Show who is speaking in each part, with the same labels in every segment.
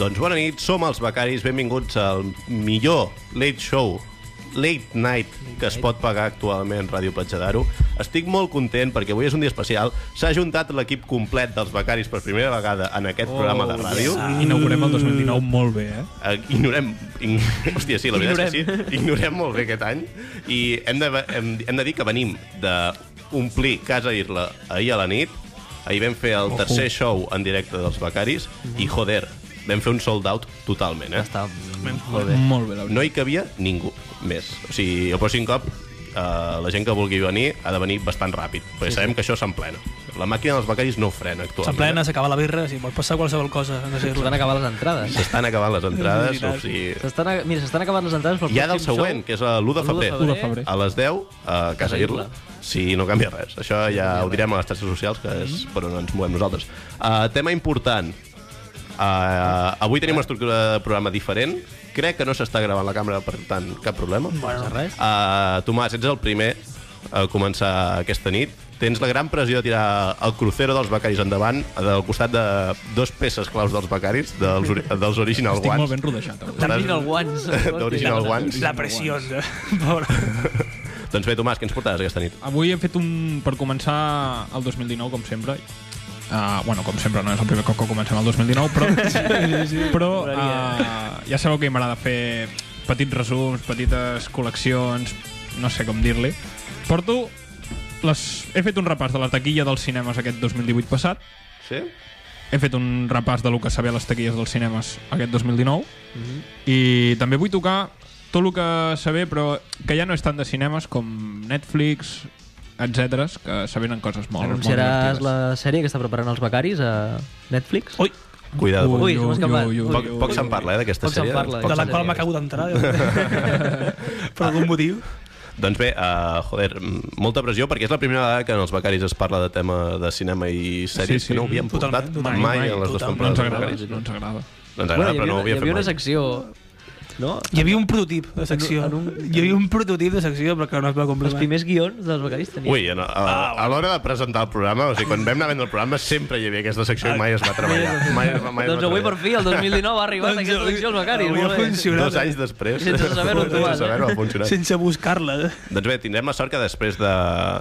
Speaker 1: Doncs bona nit, som els becaris, benvinguts al millor late show, late night, que es pot pagar actualment Ràdio Platja d'Aro. Estic molt content perquè avui és un dia especial. S'ha juntat l'equip complet dels becaris per primera vegada en aquest oh, programa de ràdio.
Speaker 2: Inaugurem el 2019 molt bé, eh?
Speaker 1: Eh, Ignorem... In... Hòstia, sí, la veritat és que sí. Ignorem molt bé aquest any. I hem de, hem, hem de dir que venim d'omplir Casa Irla ahir a la nit. Ahir vam fer el tercer show en directe dels Becaris i, joder, vam fer un sold out totalment, eh?
Speaker 3: Està molt bé.
Speaker 2: Molt bé, la veritat.
Speaker 1: No hi cabia ningú més. O sigui, el pròxim cop eh, la gent que vulgui venir ha de venir bastant ràpid, perquè sí, sabem sí. que això s'emplena. La màquina dels becaris no frena actualment.
Speaker 4: S'emplena, s'acaba la birra, si pot passar qualsevol cosa. No sé,
Speaker 3: S'han acabat les entrades.
Speaker 1: Estan acabant les entrades,
Speaker 4: veritat.
Speaker 1: o sigui...
Speaker 3: S'estan, a- mira, s'estan acabant les entrades pel
Speaker 1: Hi ha del
Speaker 3: pròxim
Speaker 1: següent,
Speaker 3: show.
Speaker 1: que és l'1 de
Speaker 3: El
Speaker 1: febrer.
Speaker 3: 1 de
Speaker 4: febrer.
Speaker 1: A les 10, a Casa
Speaker 3: Casa
Speaker 1: Irla.
Speaker 3: Irla.
Speaker 1: Sí, no canvia res. Això ja ho direm a les xarxes socials, que és per on ens movem nosaltres. Uh, tema important. Uh, avui tenim una estructura de programa diferent. Crec que no s'està gravant la càmera, per tant, cap problema.
Speaker 3: No passa res.
Speaker 1: Uh, Tomàs, ets el primer a començar aquesta nit. Tens la gran pressió de tirar el crucero dels becaris endavant, del costat de dos peces claus dels becaris, dels, ori dels Original
Speaker 2: Estic molt
Speaker 1: Ones.
Speaker 2: ben rodejat. avui.
Speaker 3: Original Ones.
Speaker 1: D'Original Ones.
Speaker 4: La pressió. De... Pobre.
Speaker 1: Doncs bé, Tomàs, què ens portaràs aquesta nit?
Speaker 2: Avui hem fet un... Per començar el 2019, com sempre... Uh, bueno, com sempre, no és el primer cop que comencem el 2019, però, sí, sí, sí. però uh, ja sabeu que a mi m'agrada fer petits resums, petites col·leccions, no sé com dir-li. Porto... Les... He fet un repàs de la taquilla dels cinemes aquest 2018 passat,
Speaker 1: Sí?
Speaker 2: he fet un repàs de lo que sabia les taquilles dels cinemes aquest 2019
Speaker 3: Mhm.
Speaker 2: i també vull tocar tot el que saber però que ja no és tant de cinemes com Netflix etc que se venen coses molt, molt
Speaker 3: Anunciaràs
Speaker 2: divertides.
Speaker 3: la sèrie que està preparant els becaris a Netflix?
Speaker 4: Ui,
Speaker 1: Cuidado, Ui,
Speaker 3: Ui, se m'ha escapat.
Speaker 1: poc,
Speaker 3: ui,
Speaker 1: poc se'n parla, eh, d'aquesta
Speaker 3: Poc se'n
Speaker 1: sèrie.
Speaker 3: parla,
Speaker 4: de
Speaker 1: se'n
Speaker 4: la
Speaker 3: sí,
Speaker 4: qual
Speaker 3: sí.
Speaker 4: m'ha cagut d'entrar. per algun motiu.
Speaker 1: Doncs bé, uh, joder, mm, molta pressió, perquè és la primera vegada que en els becaris es parla de tema de cinema i sèries,
Speaker 2: Sí, sí.
Speaker 1: sí, que no ho havíem
Speaker 4: Totalment,
Speaker 1: portat
Speaker 4: totalment.
Speaker 1: mai,
Speaker 2: Mai,
Speaker 1: en les dues
Speaker 4: totalment.
Speaker 2: no ens
Speaker 1: temporades. dels
Speaker 2: agrada,
Speaker 1: becaris.
Speaker 2: no ens agrada
Speaker 1: No ens agrada, però no ho
Speaker 3: hi havia,
Speaker 1: havíem
Speaker 3: hi havia
Speaker 1: fet
Speaker 3: una
Speaker 1: mai.
Speaker 3: secció... No?
Speaker 4: Hi havia un prototip de secció.
Speaker 3: En un- en un-
Speaker 4: Hi havia un prototip de secció, però que no es va complir.
Speaker 3: Els
Speaker 4: mai.
Speaker 3: primers guions dels becaris tenien...
Speaker 1: Ui, en- a, a l'hora de presentar el programa, o sigui, quan vam anar a vendre el programa, sempre hi havia aquesta secció i mai es va treballar. Mai, es va- mai es va
Speaker 3: doncs avui, per
Speaker 1: treballar.
Speaker 3: fi, el 2019 ha arribat
Speaker 4: Doncs
Speaker 3: aquesta
Speaker 4: avui-
Speaker 3: elecció als becaris.
Speaker 4: avui
Speaker 3: molt
Speaker 4: ha
Speaker 3: bé.
Speaker 4: funcionat.
Speaker 1: Dos anys després.
Speaker 3: Sense saber-ho,
Speaker 1: sense
Speaker 3: Tomàs.
Speaker 1: saber-ho, ha funcionat.
Speaker 4: Sense buscar-la.
Speaker 1: Doncs bé, tindrem la sort que després de-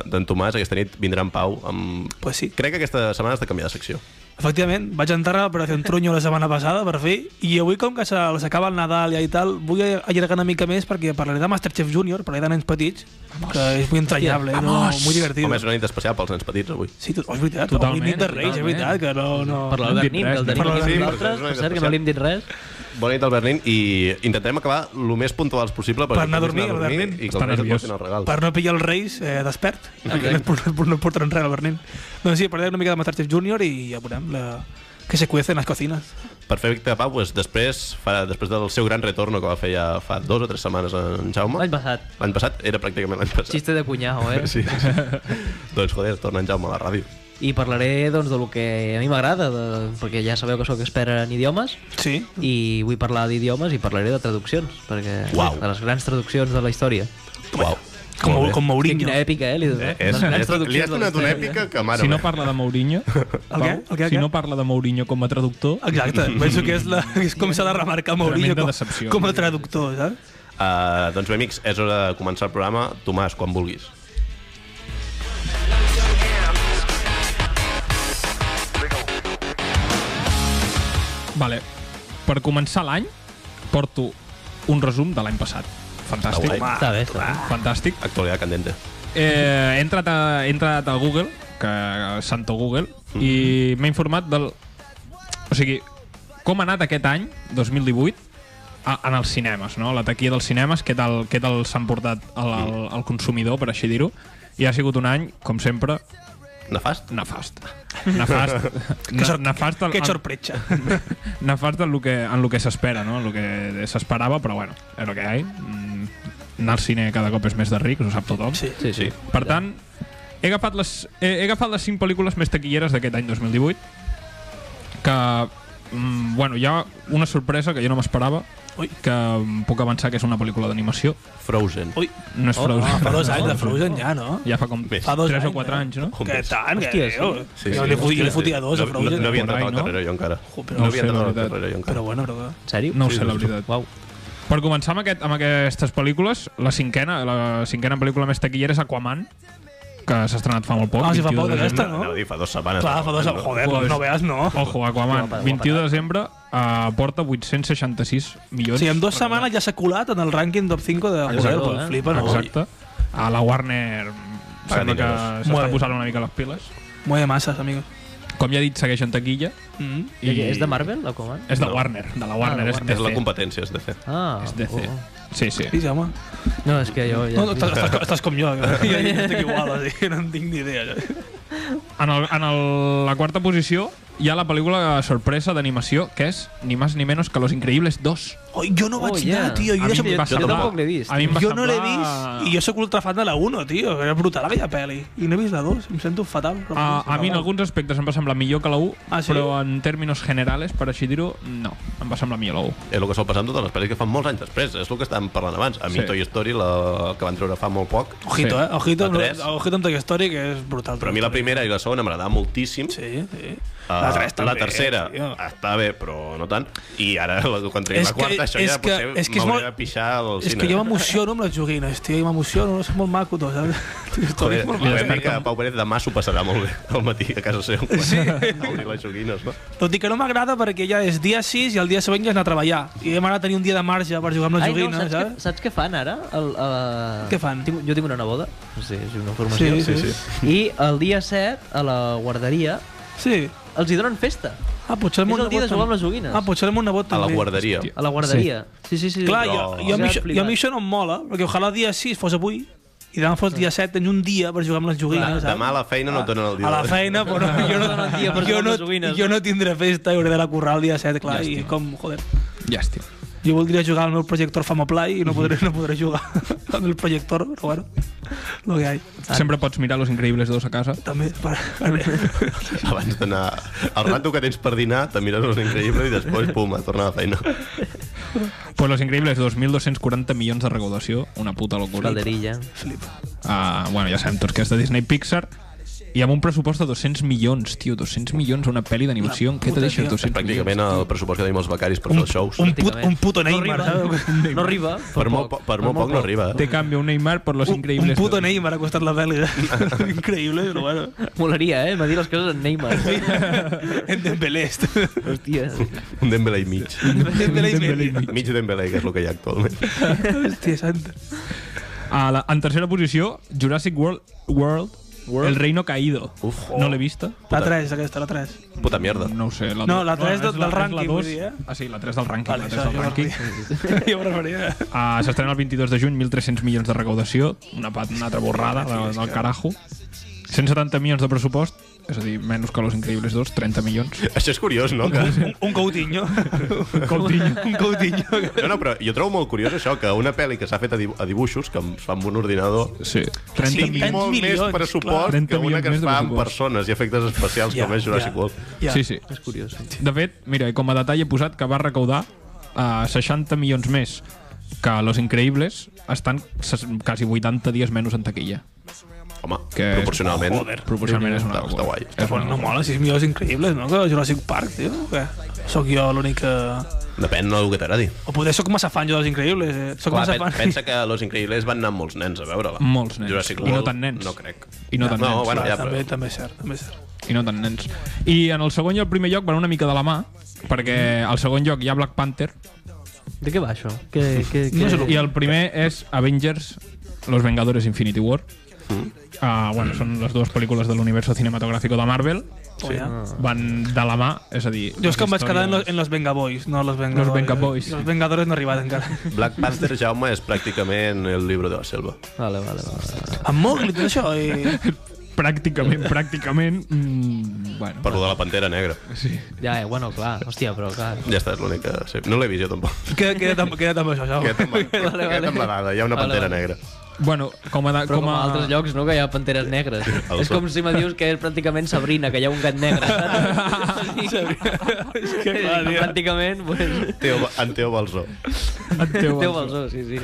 Speaker 1: d'en de, Tomàs aquesta nit vindrà en Pau. Amb...
Speaker 4: Pues sí.
Speaker 1: Crec que aquesta setmana has de canviar de secció.
Speaker 4: Efectivament, vaig entrar a l'operació en Truño la setmana passada, per fi, i avui, com que se- els acaba el Nadal i tal, vull allargar una mica més perquè parlaré de Masterchef Junior, parlaré de nens petits, Vamos. que és molt entranyable, no? molt divertit.
Speaker 1: Home, és una nit especial pels nens petits, avui.
Speaker 4: Sí, tot, oh, és veritat,
Speaker 2: Totalment,
Speaker 4: avui nit de Reis, és
Speaker 2: totalment.
Speaker 4: veritat, que no... no...
Speaker 3: Per l'Albert Nin, que el tenim
Speaker 4: Per l'Albert
Speaker 3: aquí
Speaker 1: Nin.
Speaker 3: amb nosaltres, per cert, que no li hem dit res.
Speaker 1: Bona nit, Albert Nin, i intentem acabar el més puntuals possible
Speaker 4: Per anar a dormir, Albert Nin.
Speaker 1: i que
Speaker 2: Està
Speaker 1: els nens et
Speaker 2: nerviós.
Speaker 1: portin el regal.
Speaker 4: per no pillar els Reis eh, despert, okay. no, no porten res al Bernin. Doncs sí, parlaré una mica de Masterchef Junior i ja veurem la... que se cuece en les cocines.
Speaker 1: Perfecte, Pau, doncs després, fa, després del seu gran retorno que va fer ja fa dues o tres setmanes en Jaume.
Speaker 3: L'any passat.
Speaker 1: L'any passat? Era pràcticament l'any passat.
Speaker 3: Xiste de cunyau, eh?
Speaker 1: Sí, sí. doncs joder, torna en Jaume a la ràdio.
Speaker 3: I parlaré, doncs, del que a mi m'agrada, de- perquè ja sabeu que sóc expert en idiomes,
Speaker 4: Sí,
Speaker 3: i vull parlar d'idiomes i parlaré de traduccions, perquè
Speaker 1: Uau.
Speaker 3: de les grans traduccions de la història.
Speaker 1: Uau.
Speaker 4: com,
Speaker 1: Molt bé.
Speaker 4: com Mourinho.
Speaker 3: Quina èpica, eh? Li, eh
Speaker 1: És, és, li has donat una èpica que, mare
Speaker 2: si no
Speaker 1: meva.
Speaker 2: parla de Mourinho Pau,
Speaker 4: què? El què, el
Speaker 2: si
Speaker 4: què? Ah.
Speaker 2: no parla de Mourinho com a traductor
Speaker 4: Exacte, penso que és, la, és com s'ha de remarcar Mourinho
Speaker 2: Tremenda
Speaker 4: com,
Speaker 2: decepció.
Speaker 4: com a traductor, saps?
Speaker 1: Uh, doncs bé, amics, és hora de començar el programa. Tomàs, quan vulguis.
Speaker 2: vale. per començar l'any porto un resum de l'any passat fantàstic
Speaker 1: Ah, guai.
Speaker 3: Està bé, està bé.
Speaker 2: fantàstic
Speaker 1: Actualitat candente.
Speaker 2: Eh, he, entrat a, he entrat a Google, que santo Google,
Speaker 4: Mm-hmm.
Speaker 2: i m'he informat del... O sigui, com ha anat aquest any, 2018, a, en els cinemes, no? La taquilla dels cinemes, què tal, què tal s'han portat al, al,
Speaker 4: Mm.
Speaker 2: al consumidor, per així dir-ho. I ha sigut un any, com sempre,
Speaker 1: Nefast?
Speaker 2: nefast. Nefast.
Speaker 4: Que, sor,
Speaker 2: nefast
Speaker 4: que sorpretxa.
Speaker 2: nefast en lo que, en lo que s'espera, no? En lo que s'esperava, però bueno, és el que hi ha. Mm, anar al cine cada cop és més de ric, ho sap tothom.
Speaker 4: Sí.
Speaker 3: Sí, sí.
Speaker 2: Per tant, he agafat les, he, he agafat les 5 pel·lícules més taquilleres d'aquest any 2018, que, mm, bueno, hi ha una sorpresa que jo no m'esperava,
Speaker 4: Ui.
Speaker 2: que em puc avançar que és una pel·lícula d'animació.
Speaker 1: Frozen.
Speaker 4: Ui,
Speaker 2: No és
Speaker 4: oh,
Speaker 2: Frozen.
Speaker 4: ah, fa dos anys de Frozen ja, no?
Speaker 2: Ja fa com
Speaker 1: Més.
Speaker 4: Fa dos
Speaker 2: 3 o
Speaker 4: anys,
Speaker 2: 4
Speaker 4: eh?
Speaker 2: anys, no?
Speaker 4: Que tant,
Speaker 3: Hòstia,
Speaker 4: que
Speaker 3: sí.
Speaker 4: déu.
Speaker 1: Sí,
Speaker 4: jo
Speaker 1: sí,
Speaker 4: li, fo-
Speaker 1: sí,
Speaker 4: jo li
Speaker 1: sí.
Speaker 4: fotia dos
Speaker 1: no,
Speaker 4: a Frozen.
Speaker 1: No, no havia
Speaker 2: Por
Speaker 1: entrat
Speaker 2: ahí,
Speaker 1: al
Speaker 2: no?
Speaker 1: carreró jo encara.
Speaker 4: Jo, però
Speaker 1: No,
Speaker 2: no
Speaker 1: havia
Speaker 2: sé,
Speaker 1: entrat
Speaker 2: la
Speaker 1: al
Speaker 2: veritat.
Speaker 1: carreró jo encara.
Speaker 4: Però bueno, però... que-
Speaker 3: En sèrio?
Speaker 2: No ho sé, la veritat.
Speaker 3: Uau.
Speaker 2: Per començar amb, aquest, amb aquestes pel·lícules, la cinquena, la cinquena pel·lícula més taquillera és Aquaman, que s'ha estrenat fa molt poc.
Speaker 4: Ah, sí, fa
Speaker 2: 21
Speaker 4: poc,
Speaker 2: de
Speaker 4: aquesta,
Speaker 2: desembre.
Speaker 4: no?
Speaker 1: Anava a dir, fa dues setmanes.
Speaker 4: Clar, fa dos anys. Joder,
Speaker 2: Pues-
Speaker 4: no veas, no.
Speaker 2: Ojo, Aquaman,
Speaker 3: Guapa, guapa,
Speaker 2: 21 de
Speaker 3: guapa.
Speaker 2: desembre, eh, aporta 866
Speaker 4: O
Speaker 2: milions.
Speaker 4: sigui, en dues setmanes ja s'ha colat en el rànquing top 5 de
Speaker 2: Exacte,
Speaker 4: Google,
Speaker 3: eh?
Speaker 4: eh? flipa, no?
Speaker 2: Exacte. A la Warner sembla que
Speaker 1: dineros.
Speaker 2: s'està
Speaker 4: Molt bé.
Speaker 2: posant una mica les piles.
Speaker 4: Mueve masses, amigo.
Speaker 2: Com ja he dit, segueix en taquilla.
Speaker 4: Mm.
Speaker 3: I... És de Marvel, la Coman?
Speaker 2: És de
Speaker 1: No.
Speaker 2: Warner, de
Speaker 4: Ah,
Speaker 2: la Warner,
Speaker 3: de
Speaker 2: és
Speaker 3: Warner.
Speaker 1: És la
Speaker 2: DC.
Speaker 1: competència, és de fer.
Speaker 3: Ah,
Speaker 2: És DC.
Speaker 3: oh,
Speaker 2: Sí, sí.
Speaker 4: Sí, home.
Speaker 3: oh. No, és que jo... Ja...
Speaker 4: No, no, estàs, estàs, estàs com jo, que jo ja estic igual, o sigui, no en tinc ni idea. jo.
Speaker 2: En, el, en el, la quarta posició hi ha la pel·lícula sorpresa d'animació, que és ni més ni menys que Los Increíbles 2.
Speaker 4: Oh, jo no vaig
Speaker 3: Oh,
Speaker 4: oh,
Speaker 3: yeah.
Speaker 4: yeah. anar, tio.
Speaker 2: A
Speaker 4: Jo,
Speaker 2: mi
Speaker 4: ja
Speaker 2: em va
Speaker 1: jo
Speaker 3: Jo
Speaker 2: semblar-
Speaker 3: tampoc l'he vist.
Speaker 2: A mi em va
Speaker 4: jo no l'he
Speaker 2: semblar-
Speaker 4: vist i jo sóc ultrafan de la 1, tio. Que era brutal aquella peli. I no he vist la 2. Em sento fatal. però
Speaker 2: Ah, A, a mi
Speaker 4: em
Speaker 2: en
Speaker 4: sembla
Speaker 2: alguns aspectes em va semblar millor que la 1,
Speaker 4: Ah, sí?
Speaker 2: però en términos generales, per així dir-ho, no, em va semblar millor la 1.
Speaker 1: És el que sol passar amb totes les pel·lis que fan molts anys després. És el que estàvem parlant abans. A mi
Speaker 2: Sí.
Speaker 1: Toy Story, la que van treure fa molt poc,
Speaker 4: Ojito,
Speaker 2: Sí.
Speaker 4: eh? Ojito, amb,
Speaker 1: La tres.
Speaker 4: ojito amb Toy Story, que és brutal.
Speaker 1: però a mi la primera i la segona m'agradava moltíssim.
Speaker 4: Sí, sí.
Speaker 1: Ah,
Speaker 4: tres
Speaker 1: la
Speaker 4: també,
Speaker 1: tercera
Speaker 4: tio.
Speaker 1: està bé, però no tant. I ara, la- quan traiem
Speaker 4: És
Speaker 1: la quarta,
Speaker 4: que-
Speaker 1: això
Speaker 4: és
Speaker 1: ja
Speaker 4: que-
Speaker 1: potser
Speaker 4: és que és
Speaker 1: m'hauria
Speaker 4: molt-
Speaker 1: de pixar al
Speaker 4: És
Speaker 1: cine. eh?
Speaker 4: que jo m'emociono amb les joguines, tio, i m'emociono, no? és molt maco tot, saps? Toy Story
Speaker 1: Joder,
Speaker 4: és molt
Speaker 1: jo
Speaker 4: maco.
Speaker 1: crec que Pau Pérez demà s'ho passarà molt bé al matí a casa seu. Sí. Obrir les joguines, no?
Speaker 4: Tot i que no m'agrada perquè ja és dia 6 i el dia següent ja és anar a treballar. I hem ara tenir un dia de marge per jugar amb les
Speaker 3: Ai, no,
Speaker 4: joguines,
Speaker 3: saps, què,
Speaker 4: saps?
Speaker 3: saps què fan ara? El, el...
Speaker 4: Què fan?
Speaker 3: Tinc, jo tinc una neboda, no sé, és una formació.
Speaker 4: Sí, sí,
Speaker 1: sí,
Speaker 4: sí.
Speaker 3: I el dia 7, a la guarderia,
Speaker 4: sí.
Speaker 3: els hi donen festa.
Speaker 4: Ah, potser
Speaker 3: És
Speaker 4: el meu
Speaker 3: el dia de jugar
Speaker 4: nebot
Speaker 3: amb
Speaker 4: també.
Speaker 3: les joguines.
Speaker 4: Ah, potser el meu nebot
Speaker 1: A la
Speaker 4: també.
Speaker 1: guarderia.
Speaker 3: A la guarderia. Sí, sí, sí. sí.
Speaker 4: Clar, jo,
Speaker 1: Però-
Speaker 4: jo, a mi,
Speaker 3: Ja
Speaker 4: això-
Speaker 3: flipat.
Speaker 4: jo a mi això no em mola, perquè ojalà el dia 6 fos avui i demà fos dia 7, tens un dia per jugar amb les joguines, saps?
Speaker 1: Demà a la feina no et donen el dia.
Speaker 4: a la feina, però jo no,
Speaker 3: donen dia per
Speaker 4: jo
Speaker 3: jugar amb
Speaker 4: no,
Speaker 3: les joguines, eh?
Speaker 4: jo no tindré festa i hauré d'anar a currar el dia 7, clar, i com, joder.
Speaker 2: Llàstima.
Speaker 4: Jo voldria jugar al meu projector Famoplay i no podré, no podré jugar amb el projector, però bueno, lo que hay.
Speaker 2: Sempre pots mirar Los Increíbles 2 a casa.
Speaker 4: També, per, per,
Speaker 1: Abans d'anar... El rato que tens per dinar, te mires los increïbles i després, pum, a tornar a la feina.
Speaker 2: Pues Los Increíbles, 2.240 milions de recaudació, una puta locura.
Speaker 3: Calderilla.
Speaker 2: Ah, bueno, ja sabem tots que és de Disney Pixar. I amb un pressupost de 200 milions, tio, 200 milions una pel·li d'animació. En què te
Speaker 4: puta,
Speaker 2: deixes
Speaker 4: tio.
Speaker 2: 200 milions?
Speaker 1: Pràcticament el pressupost que tenim els becaris per fer els shows.
Speaker 4: un, put, un puto Neymar, eh?
Speaker 3: no arriba, eh?
Speaker 4: saps?
Speaker 3: no arriba
Speaker 1: Per molt, po- per molt poc no arriba. eh?
Speaker 2: Te cambio un Neymar por Los
Speaker 4: Un, un
Speaker 2: Increíbles
Speaker 4: puto
Speaker 2: 2.
Speaker 4: Neymar ha costat la pel·li. de- Increïble, però bueno.
Speaker 3: Molaria, eh? M'ha dit les coses en Neymar.
Speaker 4: En Dembélé. est.
Speaker 3: Hòstia.
Speaker 1: Un Dembélé i mig.
Speaker 4: Dembélé i
Speaker 2: Dembélé i
Speaker 4: Messi.
Speaker 1: Mig Dembélé, que és el que hi ha actualment.
Speaker 4: Hòstia santa.
Speaker 2: A la, en tercera posició, Jurassic World, World,
Speaker 1: World.
Speaker 2: El Reino Caído.
Speaker 1: Uf.
Speaker 2: No l'he vista?
Speaker 4: La 3, aquesta, la 3.
Speaker 1: Puta mierda.
Speaker 2: No ho sé. La
Speaker 4: No,
Speaker 2: dos-
Speaker 4: la tres
Speaker 2: és
Speaker 4: del- del
Speaker 2: és
Speaker 4: rànquing,
Speaker 2: dos.
Speaker 4: vull dir, eh?
Speaker 2: Ah, sí, la 3 del rànquing.
Speaker 4: Vale,
Speaker 2: la
Speaker 4: això
Speaker 2: 3 del
Speaker 4: jo
Speaker 2: rànquing.
Speaker 4: Jo em referia.
Speaker 2: Uh, S'estrena el 22 de juny, 1.300 milions de recaudació, una, pat- una altra borrada de, del carajo. 170 milions de pressupost, és a dir, menys que Los Increíbles 2, 30 milions.
Speaker 1: Això és curiós, no? Que...
Speaker 4: Un, un Coutinho. Un Coutinho. un Coutinho.
Speaker 1: No, no, però jo trobo molt curiós això, que una pel·li que s'ha fet a, dibu a dibuixos, que es fa amb un ordinador,
Speaker 2: Sí, 30
Speaker 4: Sí,
Speaker 2: sí,
Speaker 1: tingui
Speaker 4: tants
Speaker 2: milions.
Speaker 1: molt
Speaker 4: milions,
Speaker 1: més
Speaker 4: clar.
Speaker 1: pressupost
Speaker 2: 30
Speaker 1: que una
Speaker 2: milions
Speaker 1: que es
Speaker 2: més de
Speaker 1: fa amb
Speaker 2: pressupost.
Speaker 1: persones i efectes especials
Speaker 4: Ja,
Speaker 1: com és Jurassic
Speaker 4: ja.
Speaker 1: World.
Speaker 4: Ja.
Speaker 2: Sí, sí.
Speaker 3: És curiós.
Speaker 2: De fet, mira, i com a detall he posat que va recaudar uh, 60 milions més que Los Increíbles estan ses- quasi 80 dies menys en taquilla.
Speaker 1: Home,
Speaker 2: Que és-
Speaker 1: proporcionalment...
Speaker 4: Joder.
Speaker 2: Proporcionalment és una
Speaker 1: Està- està
Speaker 2: locura.
Speaker 1: guai.
Speaker 2: És una
Speaker 4: No
Speaker 2: locura.
Speaker 4: mola, 6 milions increïbles, no? Que Jurassic Park, tio. Què? Soc jo l'únic que...
Speaker 1: Depèn del que t'agradi.
Speaker 4: O poder soc massa fan jo dels increïbles. Eh? Soc
Speaker 1: Clar,
Speaker 4: massa
Speaker 1: pen-
Speaker 4: fan.
Speaker 1: pensa que Los Increïbles van anar molts nens a veure-la.
Speaker 2: Molts nens.
Speaker 1: Jurassic
Speaker 2: I
Speaker 1: World,
Speaker 2: no tan nens.
Speaker 1: No crec.
Speaker 2: I no tan
Speaker 1: no,
Speaker 2: nens.
Speaker 1: Bueno,
Speaker 4: Clar,
Speaker 1: ja,
Speaker 4: també,
Speaker 1: però...
Speaker 4: també és cert, també és cert.
Speaker 2: i no tan nens. I en el segon i el primer lloc van una mica de la mà, perquè al segon lloc hi ha Black Panther
Speaker 3: De què va això? Que, que, que...
Speaker 2: i el primer és Avengers, Los Vengadores Infinity War.
Speaker 4: Mm.
Speaker 2: Ah, bueno, són les dues pel·lícules de l'universo cinematográfico de Marvel.
Speaker 4: Sí. Ah.
Speaker 2: Van de la mà, és a dir...
Speaker 4: Jo és que em
Speaker 2: les
Speaker 4: vaig quedar en los,
Speaker 2: històries-
Speaker 4: en los Venga Boys, no los Vengadores.
Speaker 2: Los Venga Boys, sí.
Speaker 4: Los Vengadores no he arribat encara.
Speaker 1: Black Panther, Jaume, és pràcticament el llibre de la selva.
Speaker 3: Vale, vale, vale.
Speaker 4: Amb Mowgli, tot això. I...
Speaker 2: Pràcticament, pràcticament... Mm, bueno,
Speaker 1: Per lo de la Pantera Negra.
Speaker 2: sí.
Speaker 3: Ja, eh, bueno, clar. Hòstia, però clar.
Speaker 1: Ja està, és l'únic que sé. No l'he vist jo tampoc.
Speaker 4: Queda, queda't, amb, queda't amb això, Jaume.
Speaker 1: Queda't amb, queda't amb la dada, hi ha una
Speaker 3: Vale,
Speaker 1: Pantera
Speaker 3: vale.
Speaker 1: Negra.
Speaker 2: Bueno, com a...
Speaker 3: Però com a, altres llocs, no?, que hi ha panteres negres. és com si me dius que és pràcticament Sabrina, que hi ha un gat negre. és que clar, pràcticament, pues,
Speaker 1: Teo, en Teo Balzó.
Speaker 2: Et teu,
Speaker 3: teu balzó, sí, sí.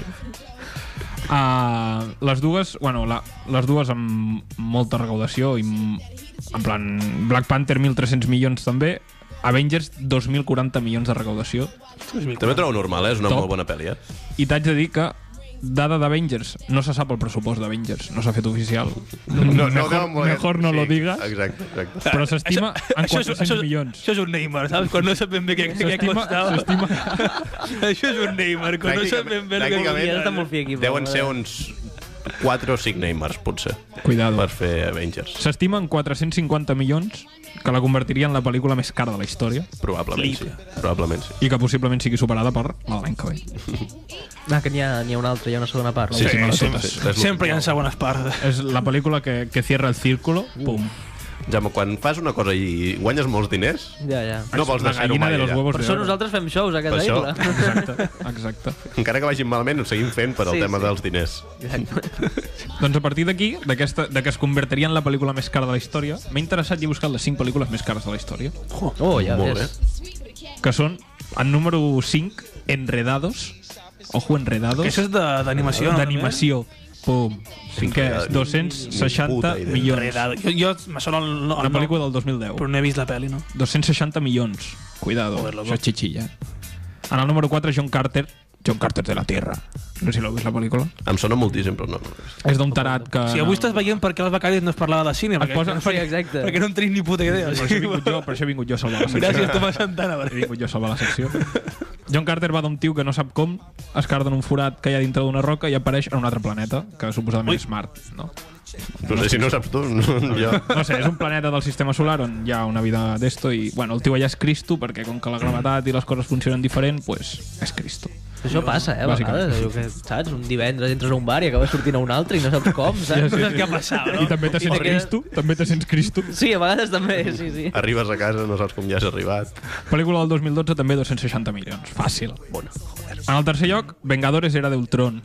Speaker 2: Uh, les dues, bueno, la, les dues amb molta recaudació i m- en plan Black Panther 1.300 milions també, Avengers 2.040 milions de recaudació
Speaker 1: També trobo normal, eh? és una
Speaker 2: Top.
Speaker 1: molt bona pel·li. Eh?
Speaker 2: i t'haig de dir que dada d'Avengers, no se sap el pressupost d'Avengers, no s'ha fet oficial. mejor,
Speaker 1: molt-
Speaker 2: mejor no lo digas,
Speaker 1: Exacte, exacte.
Speaker 2: però s'estima en 400
Speaker 4: Ah, això,
Speaker 2: milions.
Speaker 4: Això és un Neymar, saps? Quan no sap ben bé què, què
Speaker 2: S'estima-
Speaker 4: costava.
Speaker 2: s'estima-
Speaker 4: això és un Neymar, quan no sap ben bé què
Speaker 1: Pràcticament-
Speaker 3: Ja
Speaker 4: costava.
Speaker 3: està molt fi aquí. però,
Speaker 1: Deuen ser
Speaker 3: eh,
Speaker 1: uns 4 o 5 Neymars, potser,
Speaker 2: Cuidado.
Speaker 1: per fer Avengers.
Speaker 2: S'estima en 450 milions, que la convertiria en la pel·lícula més cara de la història
Speaker 1: Probablement sí. Probablement sí.
Speaker 2: i que possiblement sigui superada per la de l'any que ve.
Speaker 3: Ah, que n'hi ha, n'hi ha una altra, hi ha una segona part. no?
Speaker 1: Sí, sí,
Speaker 2: sí,
Speaker 1: sí,
Speaker 2: sí.
Speaker 1: sí, sí.
Speaker 4: Sempre hi ha segones parts.
Speaker 2: És la pel·lícula que, que cierra el círculo. Pum.
Speaker 1: Jaume, quan fas una cosa i guanyes molts diners,
Speaker 3: Ja, ja.
Speaker 1: no vols
Speaker 2: la
Speaker 1: deixar-ho
Speaker 2: gallina
Speaker 1: mai
Speaker 2: de los
Speaker 1: allà.
Speaker 2: huevos
Speaker 3: Per
Speaker 2: de
Speaker 3: això
Speaker 2: oro.
Speaker 3: nosaltres fem shows a
Speaker 1: Per
Speaker 3: casa
Speaker 1: això.
Speaker 3: isla.
Speaker 2: Exacte, exacte.
Speaker 1: Encara que vagin malament, ho seguim fent per al
Speaker 3: Sí,
Speaker 1: tema
Speaker 3: sí.
Speaker 1: dels diners.
Speaker 2: Doncs a partir d'aquí, d'aquesta- de que es convertiria en la pel·lícula més cara de la història, m'he interessat i he buscat les 5 pel·lícules més cares de la història,
Speaker 3: Oh, ja
Speaker 1: Molt
Speaker 3: ves.
Speaker 2: que són, en número 5, Enredados, ojo, Enredados,
Speaker 4: Que això és de- d'animació, no?
Speaker 2: d'animació. Pum. Cinquè,
Speaker 1: Enredados. Ni
Speaker 2: 260
Speaker 1: puta idea.
Speaker 2: milions.
Speaker 4: Enredado. Jo, jo me sona el, el,
Speaker 2: Una
Speaker 4: nom,
Speaker 2: pel·lícula del 2010.
Speaker 4: però no he vist la pel·li, no?
Speaker 2: 260 milions. Cuidado, això és xixilla. En el número 4, John Carter. John Carter de la Tierra. No sé si l'heu vist, la pel·lícula.
Speaker 1: Em sona moltíssim, però no. no ho he vist.
Speaker 2: És d'un tarat que...
Speaker 4: Si avui estàs veient per què el Becari no es parlava de cine, perquè,
Speaker 2: posa-
Speaker 3: Sí, exacte.
Speaker 4: perquè no en tenim ni puta idea.
Speaker 2: Per això he vingut jo, per això he vingut jo a salvar la secció.
Speaker 4: Gràcies, Tomàs Santana.
Speaker 2: He
Speaker 4: Per...
Speaker 2: vingut jo a salvar la secció. John Carter va d'un tio que no sap com, es carda en un forat que hi ha dintre d'una roca i apareix en un altre planeta, que suposadament és Mart, no?
Speaker 1: No sé si no ho saps tu, no, jo.
Speaker 2: No sé, és un planeta del sistema solar on hi ha una vida d'esto i, bueno, el tio allà és Cristo perquè com que la gravetat i les coses funcionen diferent, pues, és Cristo.
Speaker 3: Això passa, eh, a
Speaker 2: Bàsicament.
Speaker 3: vegades. Allò que, saps? Un divendres entres a un bar i acabes sortint a un altre i no saps com, saps?
Speaker 4: No saps què ha passat,
Speaker 2: I
Speaker 4: no?
Speaker 2: també te sents
Speaker 3: Perquè-
Speaker 2: Cristo, també te sents Cristo.
Speaker 3: Sí, a vegades també, sí, sí.
Speaker 1: Arribes a casa, no saps com ja has arribat.
Speaker 2: Pel·lícula del 2012 també 260 milions. Fàcil.
Speaker 1: Bona.
Speaker 2: En el tercer lloc, Vengadores era de Ultron.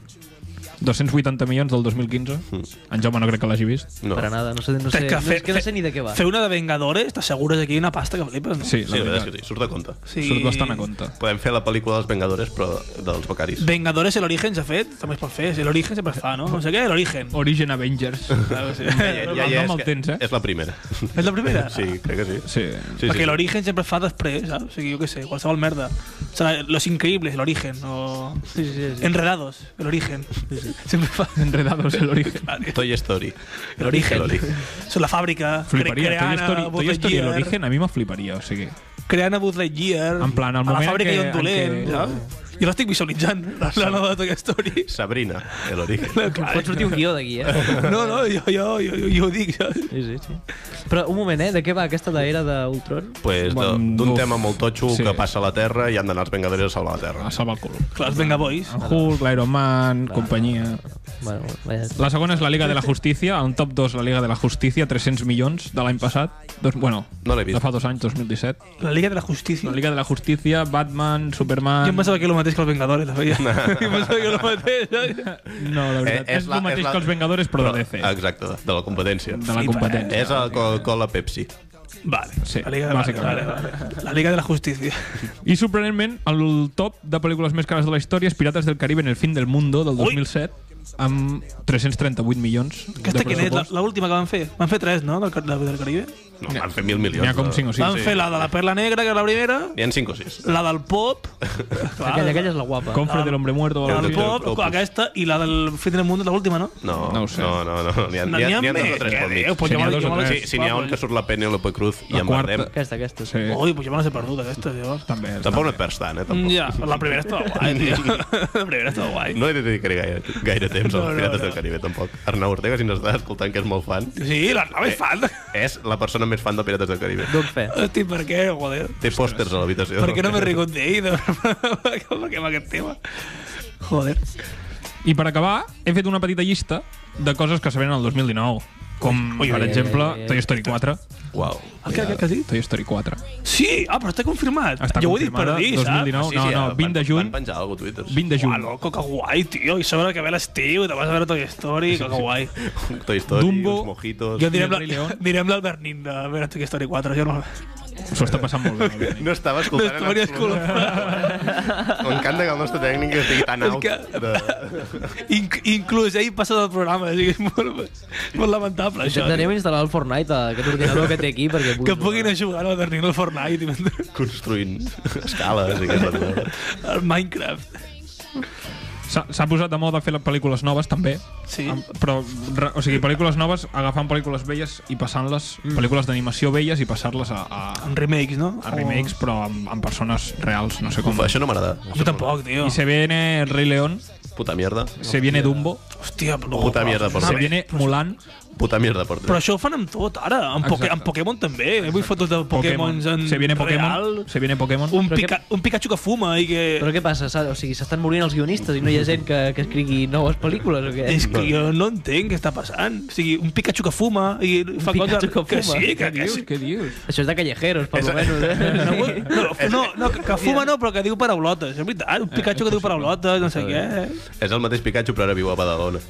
Speaker 2: 280 milions del 2015. En Jaume no crec que l'hagi vist.
Speaker 1: No.
Speaker 3: Per a nada, no sé, no sé,
Speaker 4: Té que
Speaker 3: no,
Speaker 4: fer-
Speaker 3: és que no sé ni de què va.
Speaker 4: Fer una de Vengadores, t'assegures aquí una pasta que flipes, no?
Speaker 2: Sí,
Speaker 1: Sí,
Speaker 2: la
Speaker 1: la veritat és
Speaker 2: veritat.
Speaker 1: que sí, surt de compte.
Speaker 4: Sí.
Speaker 2: Surt bastant a compte.
Speaker 1: Podem fer la pel·lícula dels Vengadores, però dels becaris.
Speaker 4: Vengadores, el origen s'ha fet, també es pot fer. Si l'origen sempre es fa, no? No sé què, l'origen.
Speaker 2: Origin Avengers.
Speaker 1: Ja,
Speaker 2: El nom
Speaker 1: és
Speaker 2: el
Speaker 1: que-
Speaker 2: tens, eh?
Speaker 1: És la primera.
Speaker 4: És la primera?
Speaker 1: Sí, crec que sí.
Speaker 2: Sí.
Speaker 1: sí,
Speaker 4: Perquè
Speaker 1: sí.
Speaker 4: l'origen sempre es fa després, saps? O sigui, jo què sé, qualsevol merda. Serà Los Increíbles, l'origen, o...
Speaker 3: Sí, sí, sí.
Speaker 4: Enredados, l'origen. Sempre fa...
Speaker 2: Enredados el origen.
Speaker 1: Toy Story.
Speaker 4: L'origen.
Speaker 1: L'origen.
Speaker 4: Són la fàbrica, cre
Speaker 2: Fliparia. Toy
Speaker 4: creant a
Speaker 2: Story, Toy Story
Speaker 4: Buzz Lightyear,
Speaker 2: l'origen a mi me fliparia, o sigui.
Speaker 4: creant a Buzz Lightyear,
Speaker 2: En plan, el
Speaker 4: a la
Speaker 2: moment en
Speaker 4: fàbrica
Speaker 2: què-
Speaker 4: i on
Speaker 2: en
Speaker 4: dolent,
Speaker 2: què-
Speaker 4: saps? Jo l'estic visualitzant, la, la nova de Toy Story.
Speaker 1: Sabrina, l'origen.
Speaker 3: Pot sortir un guió d'aquí, eh?
Speaker 4: No, no, jo, jo, jo, jo, jo ho dic, saps?
Speaker 3: Sí, sí, sí. Però un moment, eh? De què va aquesta d'era d'Ultron?
Speaker 1: Pues de-
Speaker 2: Bon,
Speaker 1: d'un
Speaker 2: uf.
Speaker 1: tema molt totxo
Speaker 2: Sí.
Speaker 1: que passa a la Terra i han d'anar els Vengadores a salvar la Terra.
Speaker 2: A salvar el cul.
Speaker 4: Clar, els Venga Boys.
Speaker 2: En Hulk, l'Iron Man, companyia...
Speaker 3: Bueno, vaja.
Speaker 2: La segona és la Liga de la Justícia, en top 2 la Liga de la Justícia, 300 milions de l'any passat. Dos, bueno,
Speaker 1: No l'he vist.
Speaker 2: de fa dos anys, 2017.
Speaker 4: La Liga de la Justícia.
Speaker 2: La Liga de la Justícia, Batman, Superman...
Speaker 4: Jo em pensava que era el mateix que els Vengadores, la feia. Jo em pensava que era el mateix. saps?
Speaker 2: No, la veritat. Eh, és, és el mateix que els Vengadors, però de DC.
Speaker 1: Exacte, de- de la competència.
Speaker 2: De la competència.
Speaker 1: És el Coca-Cola Pepsi.
Speaker 4: Vale,
Speaker 2: Sí,
Speaker 4: la Liga de, vale, vale,
Speaker 2: bàsicament.
Speaker 4: vale. La Liga de la Justícia.
Speaker 2: I sorprenentment, el top de pel·lícules més cares de la història és Pirates del Caribe en el fin del mundo del
Speaker 4: Ui!
Speaker 2: 2007 amb 338 milions
Speaker 4: Aquesta quina és? La-
Speaker 2: pressupost.
Speaker 4: L'última que van fer? Van fer tres, no? Del, Car- del, del Caribe?
Speaker 1: No, van fer mil milions.
Speaker 2: N'hi ha com
Speaker 1: de-
Speaker 2: 5 o 6.
Speaker 4: van fer la de la Perla Negra, que era la primera,
Speaker 1: N'hi ha 5 o 6.
Speaker 4: la del Pop, clar,
Speaker 3: Aquella, aquella és la guapa.
Speaker 2: Confre de l'Hombre Muerto o
Speaker 4: la
Speaker 2: algo
Speaker 1: de
Speaker 4: del
Speaker 2: així.
Speaker 1: tot.
Speaker 4: Pop,
Speaker 1: Octopus.
Speaker 4: aquesta, i la del Fin del Mundo, l'última, no?
Speaker 1: No,
Speaker 2: No ho sé.
Speaker 1: No, no, no. N'hi ha, n'hi ha, eh? n'hi ha dos o tres pel mig.
Speaker 4: Déu, pues
Speaker 2: Sí,
Speaker 4: jo
Speaker 2: n'hi ha
Speaker 4: me la-
Speaker 2: dos
Speaker 4: jo
Speaker 2: o
Speaker 4: me la-
Speaker 2: tres.
Speaker 1: Si, si n'hi ha un que surt la Penélope Cruz i
Speaker 2: La
Speaker 1: en
Speaker 2: quarta.
Speaker 1: Bardem,
Speaker 3: Aquesta, aquesta. Sí.
Speaker 2: Sí,
Speaker 4: Ui, pues jo me les he perdut, aquesta, tio.
Speaker 2: també.
Speaker 1: tampoc no et perds tant, eh? Tampoc.
Speaker 4: Ja, Mm, la primera estava guai, tio. La primera estava guai.
Speaker 1: No he de dedicar gaire, gaire temps als
Speaker 4: No, no,
Speaker 1: Pirates
Speaker 4: no.
Speaker 1: del Caribe, tampoc. Arnau Ortega, si ens estàs escoltant, que és molt fan,
Speaker 4: Sí, la nova és fan.
Speaker 1: és la persona més fan de Pirates del Caribe.
Speaker 3: Doc fe.
Speaker 4: Hosti, per què, joder?
Speaker 1: Té pòsters a l'habitació.
Speaker 4: Per què no m'he rigut d'ell? de- Per què amb aquest tema? Joder.
Speaker 2: I per acabar, he fet una petita llista de coses que se venen al 2019. Com,
Speaker 4: Ui,
Speaker 2: per
Speaker 4: ui,
Speaker 2: exemple,
Speaker 3: ui, ui, ui.
Speaker 2: Toy Story 4,
Speaker 1: Uau.
Speaker 4: El que, el que has dit?
Speaker 2: Toy Story 4.
Speaker 4: Sí! Ah, però està confirmat!
Speaker 2: Està
Speaker 4: jo ho he dit per
Speaker 2: confirmada,
Speaker 4: dir,
Speaker 2: 2019.
Speaker 4: saps?
Speaker 2: No, no, no, 20 de
Speaker 1: van,
Speaker 2: juny.
Speaker 1: Van penjar alguna cosa a Twitter.
Speaker 2: 20 de
Speaker 4: Uah,
Speaker 2: juny.
Speaker 4: loco, que guai, tio. I sobre que ve l'estiu, te vas a veure Toy Story, que guai.
Speaker 1: Toy Story,
Speaker 2: Dumbo.
Speaker 1: uns mojitos...
Speaker 4: Jo direm,
Speaker 2: el Rei
Speaker 4: la,
Speaker 2: León.
Speaker 4: direm l'Albert Nin de veure Toy Story 4. Jo no...
Speaker 2: S'ho està passant molt bé. el Dani.
Speaker 1: No estava
Speaker 4: No
Speaker 1: escoltant
Speaker 4: estaria escoltant.
Speaker 1: M'encanta que el nostre tècnic estigui tan
Speaker 4: És
Speaker 1: out.
Speaker 4: que-
Speaker 1: De...
Speaker 4: Inc inclús ell passa del programa, o sigui, és molt, molt lamentable, això.
Speaker 3: Intentarem instal·lar el Fortnite a aquest ordinador que té aquí perquè
Speaker 4: Que puguin
Speaker 2: eh?
Speaker 4: jugar a l'Albert Nin al Fortnite i mentre-
Speaker 1: Construint escales i aquestes coses.
Speaker 4: al Minecraft.
Speaker 2: S'ha s'ha posat de moda fer les pel·lícules noves, també.
Speaker 4: Sí.
Speaker 2: Amb- Però, re- o sigui, pel·lícules noves, agafant pel·lícules velles i passant-les,
Speaker 4: Mm.
Speaker 2: pel·lícules d'animació velles i passar-les a, a,
Speaker 4: Amb remakes, no?
Speaker 2: a remakes, però amb, amb persones reals, no sé com.
Speaker 1: Uf, això no m'agrada.
Speaker 4: O... Oh. Jo tampoc, tio.
Speaker 2: I se viene El Rei León,
Speaker 1: Puta mierda.
Speaker 2: se viene Dumbo,
Speaker 4: Hòstia, però...
Speaker 1: Puta mierda, per
Speaker 2: se
Speaker 1: ser.
Speaker 2: viene Mulan,
Speaker 1: Puta mierda, per
Speaker 4: Oh, Però això ho fan amb tot, ara. Amb, poke,
Speaker 2: Exacte.
Speaker 4: amb Pokémon també. He vist fotos de
Speaker 2: Pokémon,
Speaker 4: Pokémons en
Speaker 2: se viene
Speaker 4: real.
Speaker 2: Pokémon, se viene Pokémon.
Speaker 4: Un,
Speaker 3: Però què-
Speaker 4: pica, un Pikachu que fuma i que...
Speaker 3: Però què passa? S'ha- O sigui, s'estan morint els guionistes i no hi ha gent que, que escrigui noves pel·lícules o què?
Speaker 4: És que jo no entenc què està passant. O sigui, un Pikachu que fuma i fa
Speaker 3: Pikachu
Speaker 4: coses...
Speaker 3: que
Speaker 4: Que
Speaker 3: fuma?
Speaker 4: sí, que, que sí.
Speaker 2: què dius?
Speaker 3: Això és de callejeros, per lo
Speaker 1: És-
Speaker 3: menos. Eh?
Speaker 4: No, no, no, que, que fuma no, però que diu paraulotes. És veritat, un
Speaker 2: Eh,
Speaker 4: Pikachu que diu paraulotes, no sé què.
Speaker 1: És el mateix Pikachu, però ara viu a Badalona.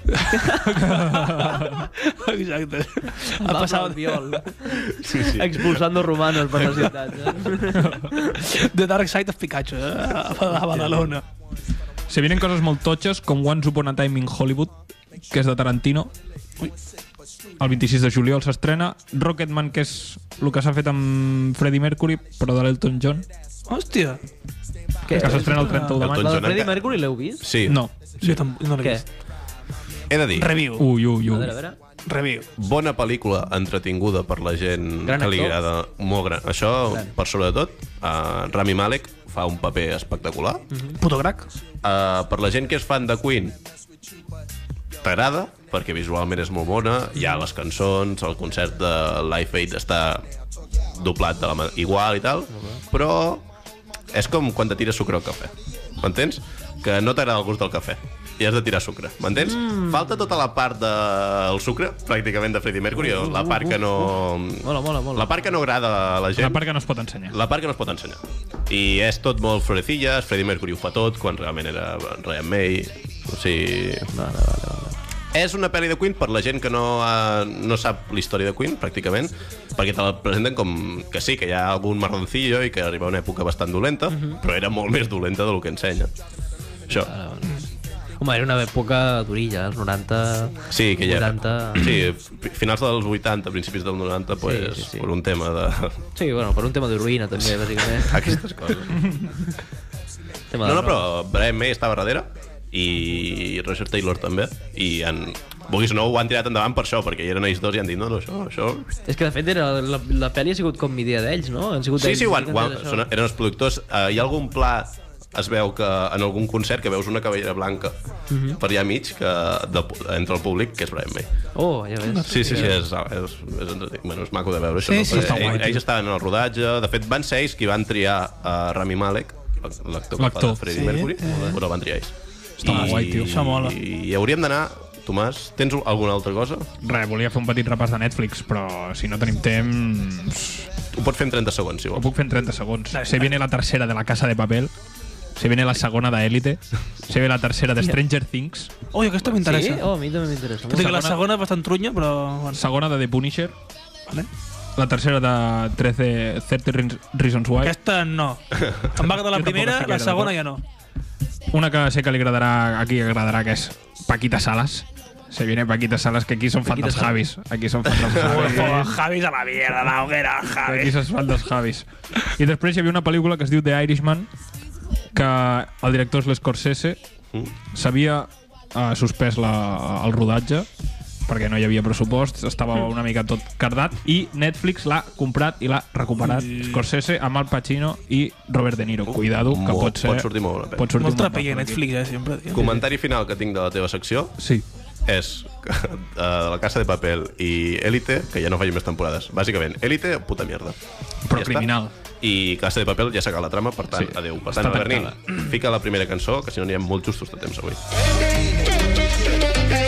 Speaker 4: Exacte.
Speaker 3: Va
Speaker 4: Ha
Speaker 3: passar el
Speaker 4: passat
Speaker 3: viol,
Speaker 1: Sí, sí.
Speaker 3: expulsant dos romanos per la ciutat. Eh?
Speaker 4: The Dark Side of Pikachu, eh? a a Badalona.
Speaker 2: Se vienen coses molt totxes, com Once Upon a Time in Hollywood, que és de Tarantino. El 26 de juliol s'estrena. Rocketman, que és el que s'ha fet amb Freddie Mercury, però de l'Elton John,
Speaker 4: Hòstia.
Speaker 3: Què?
Speaker 2: que s'estrena el 31
Speaker 1: Elton
Speaker 2: de maig.
Speaker 3: La de
Speaker 1: John
Speaker 3: Freddie
Speaker 1: encara-
Speaker 3: Mercury l'heu vist?
Speaker 1: Sí.
Speaker 2: No.
Speaker 4: Jo tampoc no l'he
Speaker 3: Què?
Speaker 4: vist.
Speaker 1: He de dir,
Speaker 4: Review.
Speaker 2: Ui, ui,
Speaker 3: A veure, a
Speaker 2: ui.
Speaker 3: veure.
Speaker 4: Review.
Speaker 1: bona pel·lícula entretinguda per la gent
Speaker 3: Gran
Speaker 1: que li
Speaker 3: actor.
Speaker 1: agrada. Molt gran. Això, per sobre de tot, uh, Rami Malek fa un paper espectacular.
Speaker 4: Puto crac.
Speaker 1: Uh, per la gent que és fan de Queen, t'agrada, perquè visualment és molt bona, hi ha les cançons, el concert de Life Aid està doblat de la mà, igual i tal, però és com quan te tires sucre al cafè, m'entens? Que no t'agrada el gust del cafè i has de tirar sucre, m'entens? Mm. Falta tota la part del sucre, pràcticament de Freddie Mercury, la part que no...
Speaker 3: Mola, mola, mola.
Speaker 1: La part que no agrada a la gent.
Speaker 2: La part que no es pot ensenyar.
Speaker 1: La part que no es pot ensenyar. I és tot molt florecillas, Freddie Mercury ho fa tot, quan realment era Ryan May. O sigui... Vale, vale, vale. És una pel·li de Queen per la gent que no, ha, no sap la història de Queen, pràcticament, perquè te la presenten com que sí, que hi ha algun marroncillo i que arriba una època bastant dolenta,
Speaker 3: Mhm.
Speaker 1: però era molt més dolenta del que ensenya. Això.
Speaker 3: Ah, Home, era una època durilla, els 90...
Speaker 1: Sí, que ja...
Speaker 3: 80...
Speaker 1: Sí, fi- finals dels 80, principis del 90, pues,
Speaker 3: sí, sí.
Speaker 1: per un tema de...
Speaker 3: Sí, bueno, per un tema d'heroïna també, bàsicament.
Speaker 1: Aquestes coses.
Speaker 3: Tema
Speaker 1: No,
Speaker 3: de
Speaker 1: no,
Speaker 3: droga.
Speaker 1: però Brian May estava darrere i Roger Taylor també i en... vulguis o no ho han tirat endavant per això perquè hi eren ells dos i han dit no, no, això, això
Speaker 3: És que de fet era, la, la pel·li ha sigut com idea d'ells, no? Han sigut
Speaker 1: sí,
Speaker 3: ells
Speaker 1: sí, ho han,
Speaker 3: que
Speaker 1: ho
Speaker 3: han
Speaker 1: han,
Speaker 3: fet això.
Speaker 1: són, eren els productors uh, hi ha algun pla es veu que en algun concert que veus una cabellera blanca
Speaker 3: Mhm.
Speaker 1: per allà mig que de, entre el públic que és Brian May
Speaker 3: Oh, ja ves.
Speaker 1: Sí, sí, sí, és, és, és, entretit- bueno, és maco de veure això.
Speaker 4: Sí,
Speaker 1: no?
Speaker 4: sí,
Speaker 1: Perquè
Speaker 4: està
Speaker 1: ells-
Speaker 2: guai, tio.
Speaker 1: ells estaven en el rodatge, de fet van ser ells qui van triar a Rami Malek, l'actor que fa
Speaker 2: L'actor.
Speaker 1: de Freddie
Speaker 4: Sí,
Speaker 1: Mercury, eh. el van triar ells.
Speaker 2: Està molt guai, tio.
Speaker 4: Això mola.
Speaker 1: I, i hauríem d'anar, Tomàs, tens alguna altra cosa?
Speaker 2: Re, volia fer un petit repàs de Netflix, però si no tenim temps...
Speaker 1: Ho pots fer en 30 segons, si
Speaker 2: Ho
Speaker 1: vols.
Speaker 2: puc fer en 30 segons. Se viene la tercera de La Casa de Papel, se viene la segona d'Elite, se viene la tercera de Stranger Things,
Speaker 4: Ui, aquesta m'interessa.
Speaker 3: Sí? Oh, a mi també m'interessa.
Speaker 4: Tot i que la
Speaker 2: Segona-
Speaker 4: segona és bastant trunya, però... Bueno,
Speaker 2: segona de The Punisher,
Speaker 4: vale.
Speaker 2: la tercera de 13, 30 Reas- Reasons Why,
Speaker 4: Aquesta no. Em va agradar
Speaker 2: Jo tampoc
Speaker 4: la primera,
Speaker 2: estic
Speaker 4: la
Speaker 2: gaire
Speaker 4: segona
Speaker 2: d'acord.
Speaker 4: ja no.
Speaker 2: una que sé que li agradarà, aquí agradarà, que és Paquita Salas. Se viene Paquita Salas, que aquí són fan
Speaker 3: Paquita
Speaker 2: dels
Speaker 3: Salas.
Speaker 2: Javis. Aquí són fan dels Javis.
Speaker 4: Oh, Javis a la mierda, la hoguera,
Speaker 2: Aquí
Speaker 4: Javis.
Speaker 2: se'n fan dels Javis. I després hi havia una pel·lícula que es diu The Irishman, que el director és l'Scorsese,
Speaker 1: Mm.
Speaker 2: s'havia eh, suspès la, el rodatge perquè no hi havia pressupost, estava
Speaker 1: Mm.
Speaker 2: una mica tot cardat i Netflix l'ha comprat i l'ha recuperat
Speaker 1: Mm.
Speaker 2: Scorsese amb Al Pacino i Robert De Niro. Cuidado, que
Speaker 1: Molt-
Speaker 2: pot ser...
Speaker 1: pot sortir molt bona pel·li.
Speaker 2: pot sortir
Speaker 4: Molt
Speaker 2: molt
Speaker 4: trapella
Speaker 2: bona per aquí.
Speaker 4: Netflix, eh, sempre. Tio.
Speaker 1: Comentari final que tinc de la teva secció
Speaker 2: Sí.
Speaker 1: és que, eh, La Casa de Papel i Elite, que ja no faci més temporades. Bàsicament, Elite, puta mierda.
Speaker 2: Però
Speaker 1: està.
Speaker 2: criminal.
Speaker 1: I Casa de Papel ja s'acaba la trama, per tant,
Speaker 2: Sí.
Speaker 1: sí. adeu. Per
Speaker 2: Està
Speaker 1: tant, Bernin, fica la primera cançó, que si no anirem molt justos de temps avui.
Speaker 5: Take it, take it, take it, take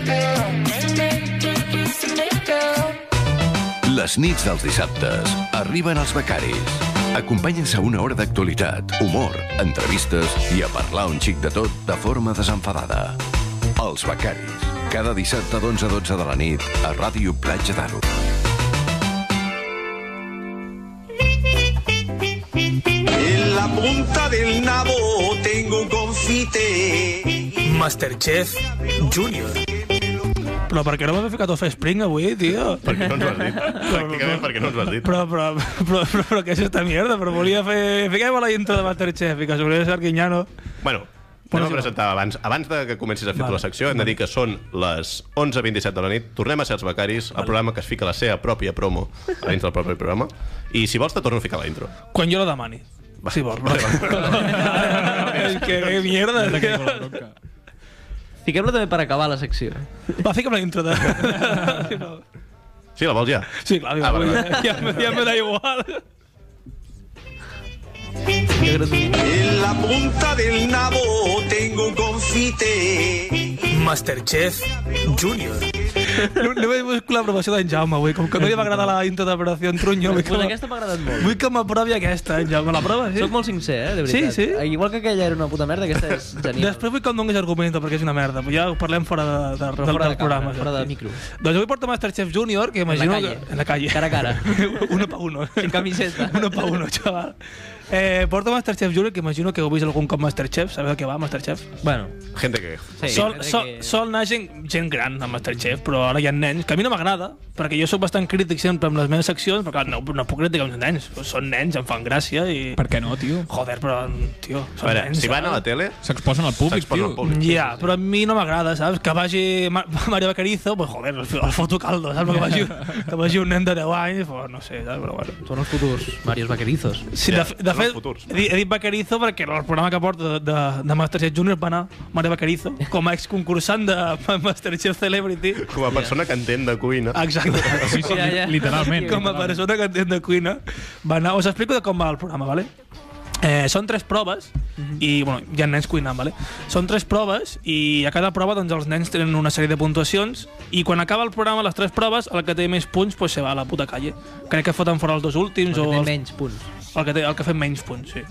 Speaker 5: it, take it, take it. Les nits dels dissabtes arriben els becaris. Acompanyen-se a una hora d'actualitat, humor, entrevistes i a parlar un xic de tot de forma desenfadada. Els becaris. Cada dissabte d'11 a 12 de la nit a Ràdio Platja d'Aro.
Speaker 6: En la punta del nabo tengo un confite.
Speaker 4: Masterchef Junior. Però per què no m'he ficat a fer Spring avui, tio?
Speaker 1: Perquè no ens ho has dit. Pràcticament perquè no ens ho has dit.
Speaker 4: Però, però, però, però, però què és esta mierda? Però volia fer... Fiquem a la intro de Masterchef i que s'hauria de ser Arquinyano.
Speaker 1: Bueno, anem a presentar abans. Abans de que comencis a fer tu la secció, hem de dir que són les 11.27 de la nit. Tornem a ser els becaris, el programa que es fica la seva pròpia promo a dins del propi programa. I si vols, te torno a ficar la intro.
Speaker 4: Quan jo la demani. Va, sí, vol.
Speaker 1: Vale, va.
Speaker 4: És que que mierda, tio.
Speaker 3: Fiquem-la també per acabar la secció.
Speaker 4: Va, fica'm la intro de... Si no-
Speaker 1: Sí, la vols ja?
Speaker 4: Sí, clar,
Speaker 1: Ah,
Speaker 4: ah,
Speaker 1: vale,
Speaker 4: ja, ja, me- ja me da igual.
Speaker 6: En la punta del nabo tengo un confite.
Speaker 4: Masterchef Junior. No, només busco l'aprovació d'en Jaume avui, com que no li va agradar la intro d'Operació en Truño. Vull que,
Speaker 3: Pues
Speaker 4: me-
Speaker 3: aquesta m'ha agradat molt.
Speaker 4: vull que m'aprovi aquesta, eh, en Jaume. L'aprova, sí?
Speaker 3: Soc molt sincer, eh, de
Speaker 4: Sí,
Speaker 3: veritat.
Speaker 4: sí.
Speaker 3: Igual que aquella era una puta merda, aquesta és genial.
Speaker 4: Després vull que em donis argumento, perquè és una merda. però Ja ho parlem fora de, de, del,
Speaker 3: Però fora
Speaker 4: del
Speaker 3: de
Speaker 4: programa.
Speaker 3: programa, fora de micro.
Speaker 4: Doncs avui porto Masterchef Junior, que imagino...
Speaker 3: calle.
Speaker 4: Que, en la calle.
Speaker 3: Cara a cara.
Speaker 4: uno pa uno.
Speaker 3: Sin camiseta.
Speaker 4: uno pa uno, xaval. Eh, porto Masterchef Junior, que imagino que heu vist algun cop Masterchef. Sabeu de què va, Masterchef?
Speaker 3: Bueno,
Speaker 1: Gente que...
Speaker 3: sí.
Speaker 4: sol,
Speaker 3: crec
Speaker 4: sol,
Speaker 3: que-
Speaker 4: sol anar gent, gent gran a Masterchef, però ara hi ha nens, que a mi no m'agrada, perquè jo sóc bastant crític sempre amb les meves seccions, però clar, no, no puc criticar uns nens, són nens, em fan gràcia i...
Speaker 2: Per què no, tio?
Speaker 4: Joder, però, tio,
Speaker 1: A
Speaker 4: són
Speaker 1: veure,
Speaker 4: nens. eh?
Speaker 1: si van a la tele,
Speaker 2: S'exposen al públic,
Speaker 1: s'exposen
Speaker 2: tio.
Speaker 1: al públic.
Speaker 4: Ja, però a mi no m'agrada, saps? Que vagi Ma Mario Bacarizo, pues joder, el, el foto caldo, saps? Que vagi, que vagi un nen de 10 anys, pues, no sé, saps? Però bueno.
Speaker 3: Són els futurs Marios Vaquerizos.
Speaker 4: Sí,
Speaker 1: Ja,
Speaker 4: de, fe- de
Speaker 1: són els
Speaker 4: fet,
Speaker 1: futurs.
Speaker 4: he, dit- he dit Bacarizo perquè el programa que porta de, de, de Masterchef Junior va anar Mario Bacarizo com a exconcursant de Masterchef Celebrity.
Speaker 1: Com a persona que entén de cuina...
Speaker 4: Exacte.
Speaker 2: Sí, sí,
Speaker 3: Ja, ja.
Speaker 2: literalment.
Speaker 4: com a persona que entén de cuina, va anar... Us explico de com va el programa, vale? Eh, són tres proves
Speaker 3: Mhm.
Speaker 4: i bueno, hi ha nens cuinant, vale? Són tres proves i a cada prova doncs, els nens tenen una sèrie de puntuacions i quan acaba el programa, les tres proves, el que té més punts pues, se va a la puta calle. Crec que foten fora els dos últims
Speaker 3: Que
Speaker 4: o
Speaker 3: té
Speaker 4: els,
Speaker 3: menys punts.
Speaker 4: el, que té, el que fa menys punts, sí.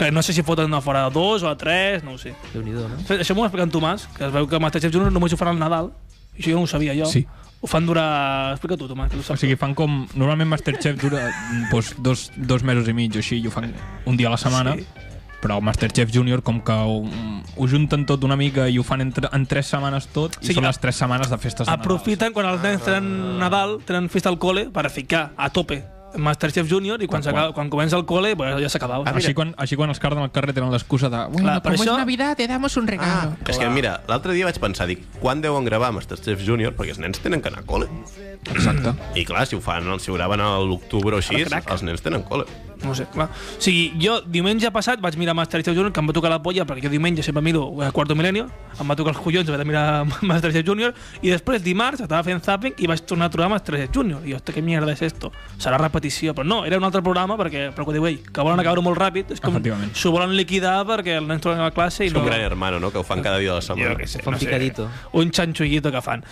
Speaker 4: Que no sé si foten a fora a dos o a tres, no ho sé.
Speaker 3: Déu-n'hi-do, no?
Speaker 4: Fe- Això m'ho va explicar en Tomàs, que es veu que Masterchef Junior només ho faran al Nadal. Això jo no ho sabia, jo.
Speaker 2: Sí.
Speaker 4: Ho fan durar... Explica tu, Tomàs, que tu
Speaker 2: O
Speaker 4: saps.
Speaker 2: sigui, fan com... Normalment Masterchef dura mm, pues, dos, dos mesos i mig o així, i ho fan un dia a la setmana.
Speaker 4: Sí.
Speaker 2: Sí. Però Masterchef Junior, com que ho, ho junten tot una mica i ho fan entre, en tres setmanes tot,
Speaker 4: Sí,
Speaker 2: i són
Speaker 4: a-
Speaker 2: les tres setmanes de festes de Nadal.
Speaker 4: Aprofiten quan els nens tenen Nadal, tenen festa al cole, per ficar a tope Masterchef Junior i quan,
Speaker 2: Tal
Speaker 4: s'acaba-
Speaker 2: qual.
Speaker 4: quan comença el cole pues, ja s'acabava.
Speaker 1: Ah, mira.
Speaker 2: Així quan, així quan els carden al carrer tenen l'excusa de
Speaker 4: Clar,
Speaker 2: bueno,
Speaker 4: per
Speaker 2: com
Speaker 4: això-
Speaker 2: és Navidad te damos un regalo.
Speaker 1: Ah, És que mira, l'altre dia vaig pensar, dic, quan deuen gravar Masterchef Junior? Perquè els nens tenen que anar a col·le.
Speaker 2: Ah. Exacte.
Speaker 1: I clar, si ho fan, si ho graven a l'octubre o així,
Speaker 4: A la craca.
Speaker 1: els nens tenen col·le.
Speaker 4: No ho sé, clar. O sigui, jo diumenge passat vaig mirar Masterchef Junior, que em va tocar la polla, perquè jo diumenge sempre miro eh, Quarto Milenio, em va tocar els collons haver de mirar Masterchef Junior, i després dimarts estava fent zapping i vaig tornar a trobar Masterchef Junior. I jo, "Hosta, què mierda és esto? Serà repetició, però no, era un altre programa, perquè, però que diu ell, que volen acabar-ho molt ràpid, és com
Speaker 2: Efectivament.
Speaker 4: s'ho volen liquidar perquè el nen torna a la classe i
Speaker 1: És
Speaker 4: no...
Speaker 1: com Gran Hermano, no?, que ho fan cada dia de la setmana.
Speaker 4: Jo què sé,
Speaker 3: Fan
Speaker 4: no sé.
Speaker 3: picadito.
Speaker 4: un xanxullito que fan.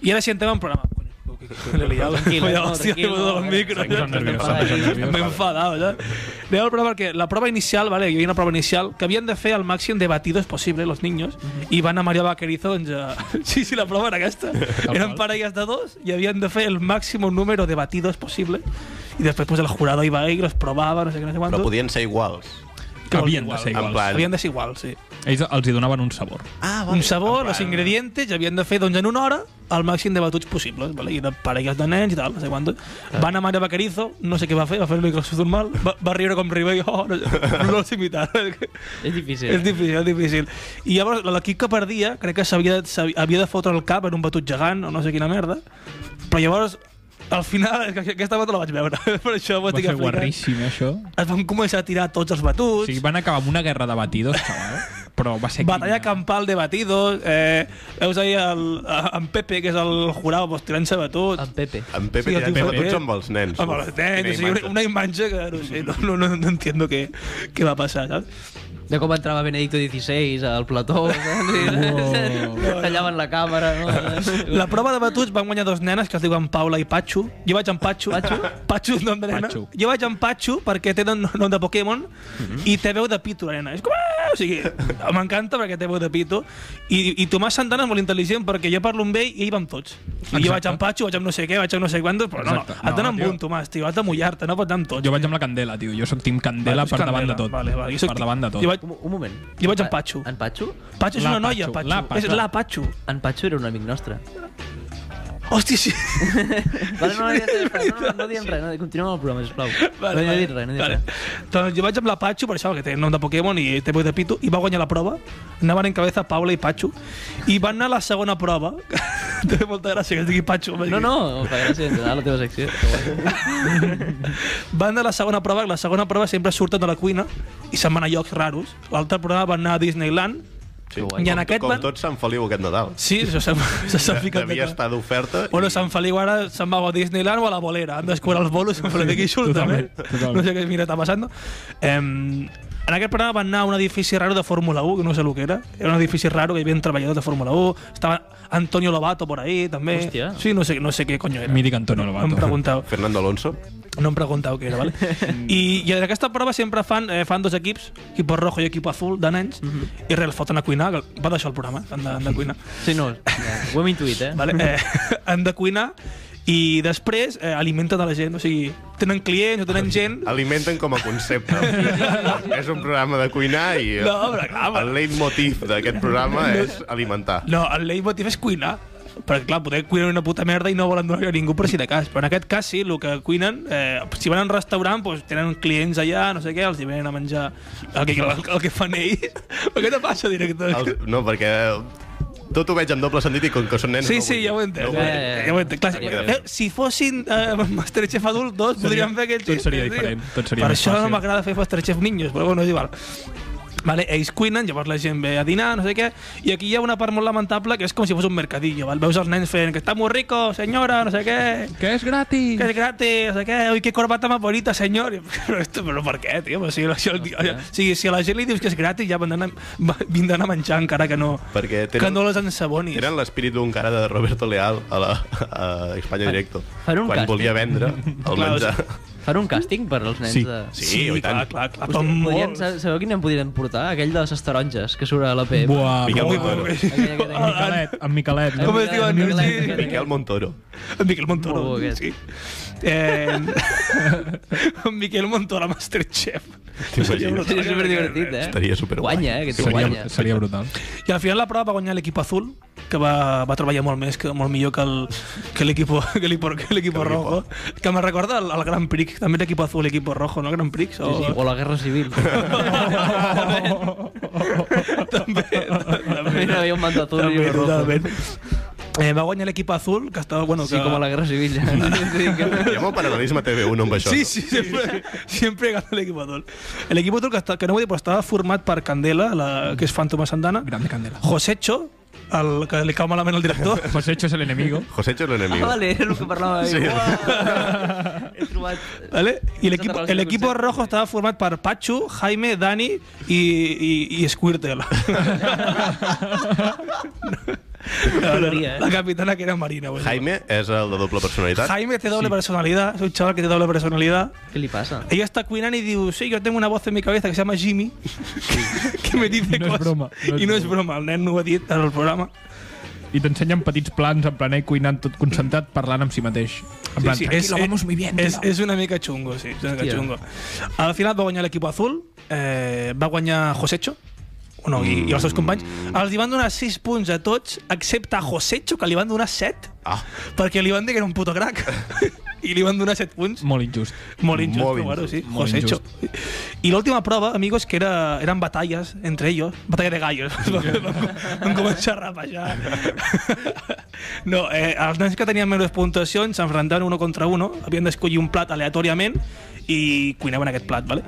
Speaker 4: I ara sí, entrem en programa. L'he liat.
Speaker 3: Tranquil,
Speaker 4: Hòstia,
Speaker 3: no,
Speaker 4: hòstia,
Speaker 3: tranquil,
Speaker 4: he posat el
Speaker 3: no,
Speaker 4: micro.
Speaker 2: s'ha posat nerviós, s'ha
Speaker 3: posat
Speaker 2: nerviós.
Speaker 4: M'he enfadat, ja. Anem al programa perquè la prova inicial, vale, hi havia una prova inicial que havien de fer el màxim de batidos possible, los niños, i van a Mario Vaquerizo, doncs... eh, sí, sí, la prova era aquesta. Eren parelles de dos i havien de fer el màxim número de batidos possible. I després pues, el jurado iba ahí, los probava, no sé què, no sé
Speaker 1: Però
Speaker 4: quantos.
Speaker 1: podien ser iguals.
Speaker 4: Que vol dir
Speaker 2: Havien de ser
Speaker 1: iguals. En
Speaker 2: iguals.
Speaker 1: plan-
Speaker 4: Havien de ser igual, sí.
Speaker 2: Ells els hi donaven un sabor.
Speaker 1: Ah,
Speaker 4: un sabor, els ingredients, i havien de fer doncs, en una hora el màxim de batuts possibles, vale? i de parelles de nens i tal, no sé quant. Van a Mario Bacarizo, no sé què va fer, va fer el microsoft normal, va, va riure com riure, i oh, no, no els imitaven.
Speaker 3: És difícil.
Speaker 4: és difícil, és difícil. I llavors l'equip que perdia, crec que s'havia s'havia- havia de fotre el cap en un batut gegant o no sé quina merda, però llavors al final, és que aquesta volta la vaig veure, per això ho
Speaker 2: Va
Speaker 4: estic
Speaker 2: ser
Speaker 4: explicant.
Speaker 2: guarríssim, això.
Speaker 4: Es van començar a tirar tots els batuts.
Speaker 2: O sigui, van acabar amb una guerra de batidos, xaval. Però va ser...
Speaker 4: Batalla
Speaker 2: criminal.
Speaker 4: campal de batidos, eh, veus ahí el, en Pepe, que és el jurado, pues, tirant-se batuts.
Speaker 3: En Pepe.
Speaker 1: En Pepe
Speaker 4: Sí, el
Speaker 1: sí,
Speaker 4: tio
Speaker 1: tenen
Speaker 4: Pepe.
Speaker 1: tots amb els nens.
Speaker 4: Amb els nens, o
Speaker 1: Quina
Speaker 4: sigui, una,
Speaker 1: imatge.
Speaker 4: una imatge que no, sé, no, no, no, no entiendo què, què va passar, saps?
Speaker 3: De com entrava Benedicto XVI al plató, eh? no? Wow. Tallaven la càmera, no?
Speaker 4: La prova de batuts van guanyar dos nenes que es diuen Paula i Patxo. Jo vaig amb Patxo.
Speaker 3: Patxo?
Speaker 4: Patxo és nom de nena.
Speaker 2: Patxo.
Speaker 4: Jo vaig amb Patxo perquè té nom, nom de Pokémon
Speaker 2: Mhm.
Speaker 4: i té veu de Pitu, la nena. És com... "Ah!" O sigui, m'encanta perquè té veu de Pitu. I, I Tomàs Santana és molt intel·ligent perquè jo parlo amb ell i ell va amb tots. I jo vaig amb Patxo, vaig amb no sé què, vaig amb no sé quantos, però no, no.
Speaker 2: Exacte.
Speaker 4: Et donen
Speaker 2: No,
Speaker 4: amb
Speaker 2: tio.
Speaker 4: un, Tomàs, tio. Has de mullar-te, no pots anar amb tots.
Speaker 2: Jo vaig amb la Candela, tio. Jo sóc Team Candela
Speaker 4: Vaig
Speaker 2: per
Speaker 4: amb
Speaker 2: davant de
Speaker 4: Candela,
Speaker 2: tot.
Speaker 4: Vale, vale. Jo soc-
Speaker 2: Per davant de tot.
Speaker 4: Jo vaig,
Speaker 3: Un, un moment.
Speaker 4: Jo vaig amb
Speaker 3: En Pa-
Speaker 4: Patxo.
Speaker 3: En Patxo?
Speaker 4: Patxo és
Speaker 2: La
Speaker 4: una noia,
Speaker 2: Patxo,
Speaker 4: Patxo.
Speaker 2: la Patxo.
Speaker 4: És la Patxo.
Speaker 3: En Patxo era un amic nostre.
Speaker 4: Hòstia, sí.
Speaker 3: Vale, no, no, ja està, ja està. no, no, no diem res, no, continuem el programa, sisplau. Vale, no he dit res, no he dit
Speaker 4: vale.
Speaker 3: res.
Speaker 4: Doncs jo vaig amb la Patxo, per això, que té nom de Pokémon i té veu de Pitu, i va guanyar la prova. Anaven en cabeza Paula i Patxo. I van anar a la segona prova. té molta gràcia que es digui Patxo.
Speaker 3: No, no, em fa gràcia entrar a la teva secció. que guai.
Speaker 4: Van anar a la segona prova, que la segona prova sempre surten de la cuina i se'n van a llocs raros. L'altra prova van anar a Disneyland.
Speaker 1: Sí.
Speaker 3: Que guai.
Speaker 4: I en
Speaker 1: Com,
Speaker 4: aquest
Speaker 1: com
Speaker 4: van-
Speaker 1: tot Sant Feliu aquest Nadal.
Speaker 4: Sí, això s'ha s'ha ficat.
Speaker 1: Devia
Speaker 4: de-
Speaker 1: estar d'oferta. i-
Speaker 4: Bueno, Sant Feliu ara se'n va a Disneyland o a la bolera. Han d'escurar els bolos, però d'aquí surt també.
Speaker 2: totalment, totalment.
Speaker 4: No sé què mira, està passant. Em, en aquest programa van anar a un edifici raro de Fórmula 1, que no sé el que era. Era un edifici raro que hi havia treballadors de Fórmula 1. Estava Antonio Lobato por ahí, també.
Speaker 3: Hòstia.
Speaker 4: Sí, no sé, no sé què coño era.
Speaker 2: Mític Antonio
Speaker 4: No em
Speaker 2: Lobato.
Speaker 4: preguntau.
Speaker 1: Fernando Alonso.
Speaker 4: No em preguntau què era, ¿vale? I, I en aquesta prova sempre fan, eh, fan dos equips, equipo rojo i equipo azul, de nens,
Speaker 2: Mhm.
Speaker 4: i res, els foten a cuinar, que va d'això el programa, han de, han de cuinar.
Speaker 3: Sí, no, ja, ho hem intuït, eh?
Speaker 4: vale? eh, han de cuinar i després eh, alimenten a la gent, o sigui, tenen clients o tenen gent...
Speaker 1: Alimenten com a concepte. és un programa de cuinar i
Speaker 4: No, però clar, però-
Speaker 1: el leitmotiv d'aquest programa és alimentar.
Speaker 4: No, el leitmotiv és cuinar, perquè clar, poder cuinar una puta merda i no volen donar a ningú per si de cas, però en aquest cas sí, el que cuinen, eh, si van a un restaurant, doncs, tenen clients allà, no sé què, els hi venen a menjar el que, el, el que fan ells. Però què te passa, director?
Speaker 1: El, no, perquè tot ho veig en doble sentit i com que són nens...
Speaker 4: Sí,
Speaker 1: no
Speaker 4: sí,
Speaker 1: vull-
Speaker 4: ja ho he entès.
Speaker 1: no vull-
Speaker 4: ja,
Speaker 3: eh,
Speaker 4: ja, ja, ja ho he entès. Clar,
Speaker 1: Seria
Speaker 4: eh,
Speaker 1: diferent.
Speaker 4: si fossin eh, Masterchef adult 2, podríem fer aquell
Speaker 2: tot seria
Speaker 4: xiste, tio.
Speaker 2: diferent, tot seria
Speaker 4: Per
Speaker 2: més
Speaker 4: això no
Speaker 2: fàcil.
Speaker 4: m'agrada fer Masterchef niños, però bueno, és igual. Vale, ells cuinen, llavors la gent ve a dinar, no sé què, i aquí hi ha una part molt lamentable que és com si fos un mercadillo, val? veus els nens fent que està molt rico, senyora, no sé què,
Speaker 2: Que és gratis!
Speaker 4: que és gratis, no sé què, ui, que corbata más bonita, senyor. I, Però, esto, però per què, tio? Però si, si, el, o sigui, si a la gent li dius que és gratis, ja vindran a, vindran a menjar encara que no,
Speaker 3: eh.
Speaker 1: Perquè tenen-
Speaker 4: que no les ensabonis.
Speaker 1: Era l'espírit d'un cara de Roberto Leal a, la, a Espanya Directo.
Speaker 3: fan un
Speaker 1: quan
Speaker 3: càsting.
Speaker 1: volia vendre el
Speaker 4: Clar,
Speaker 1: menjar.
Speaker 3: Fan un càsting per als nens
Speaker 2: Sí.
Speaker 3: de...
Speaker 1: Sí, oi tant.
Speaker 4: clar, clar, clar,
Speaker 3: Hòstia,
Speaker 4: com
Speaker 3: podrien,
Speaker 4: molts.
Speaker 3: sa- sabeu quin en podrien portar? Aquell de les taronges que surt a la PM.
Speaker 2: Buah,
Speaker 1: Miquel
Speaker 2: buah.
Speaker 1: Montoro.
Speaker 3: Aquell, aquell,
Speaker 2: En
Speaker 3: aquell.
Speaker 2: Miquelet, en eh? Miquelet. No?
Speaker 4: Com es diu en
Speaker 3: Miquel,
Speaker 4: Nil?
Speaker 3: Miquel, Miquel.
Speaker 1: Miquel Montoro.
Speaker 4: En Miquel Montoro.
Speaker 3: Molt bo, aquest.
Speaker 4: sí. Eh, en Miquel Montoro, Masterchef.
Speaker 1: T'imagines?
Speaker 3: Sí, és superdivertit, eh?
Speaker 1: Estaria superguai.
Speaker 3: Guanya, eh? Que tu guanya.
Speaker 2: Seria, seria brutal.
Speaker 4: I al final la prova va guanyar l'equip azul, que va, va treballar molt més, que molt millor que el- que l'equip que l'equip- que l'equip
Speaker 1: Que l'equip-
Speaker 4: rojo. Que me recorda el, el Gran Prix, també l'equip azul, l'equip rojo, no? El Gran Prix?
Speaker 3: Sí, sí, o la Guerra Civil.
Speaker 4: també,
Speaker 3: També hi havia un manta azul i
Speaker 4: també,
Speaker 3: un rojo.
Speaker 4: totalment. Eh, va guanyar l'equip azul, que estava... Bueno,
Speaker 3: Sí,
Speaker 4: que...
Speaker 3: com a la Guerra Civil. Ja. Sí,
Speaker 1: Hi
Speaker 3: que...
Speaker 1: ha molt paral·lelisme a TV1 amb això.
Speaker 4: Sí,
Speaker 1: no?
Speaker 4: sí, siempre, siempre gana el equipo azul. El equipo azul que, està, que no ho he dit, però estava format per Candela, la, que és Fantoma Santana,
Speaker 2: Grande Candela.
Speaker 4: Josecho, el que li cau malament al director,
Speaker 2: Pues hecho es el enemigo.
Speaker 1: José Cho és l'enemic.
Speaker 3: Ah, vale, era el que parlava.
Speaker 1: Sí.
Speaker 3: Sí. Uah, he trobat...
Speaker 4: ¿vale?
Speaker 3: Santa
Speaker 4: i l'equipo
Speaker 3: Rosa,
Speaker 4: el equipo
Speaker 3: potser.
Speaker 4: rojo estava format per Pachu, Jaime, Dani i, i, i Squirtle.
Speaker 3: Molaria, eh?
Speaker 4: la capitana que era Marina. Bueno.
Speaker 1: Jaime és el de doble personalitat.
Speaker 4: Jaime té doble personalidad, és un chaval que té doble personalidad.
Speaker 3: Què li passa?
Speaker 4: Ella está cuinando y digo, sí, yo tengo una voz en mi cabeza que se llama Jimmy, que me dice
Speaker 2: No es
Speaker 4: cosas.
Speaker 2: broma, no es
Speaker 4: y no es broma, el nen no ho ha dit en el programa.
Speaker 2: I t'ensenyen petits plans, en plan, eh, cuinant tot concentrat, parlant amb si mateix. En plan,
Speaker 4: es,
Speaker 2: tranquilo, vamos muy bien.
Speaker 4: Es,
Speaker 2: tío".
Speaker 4: es una mica chungo, sí, és una mica
Speaker 3: Hòstia.
Speaker 4: chungo. Al final va guanyar l'equip azul, eh, va guanyar Josecho, o no, i, i els seus companys.
Speaker 1: Mm.
Speaker 4: Els hi van donar 6 punts a tots, excepte a Josecho, que li van donar 7,
Speaker 1: Ah,
Speaker 4: perquè li van dir que era un puto crac. I li van donar 7 punts.
Speaker 2: Molt injust.
Speaker 4: Molt injust,
Speaker 1: Molt
Speaker 4: però bueno,
Speaker 1: injust,
Speaker 4: sí,
Speaker 2: molt
Speaker 4: Josecho. Y la última prueba, amigos, que era, eran batallas entre ellos, batalla de gallos. Van començar a rapejar. No, eh, els nens que tenien menys puntuacions s'enfrontaven uno contra uno, havien d'escollir un plat aleatòriament i cuinaven aquest plat, ¿vale?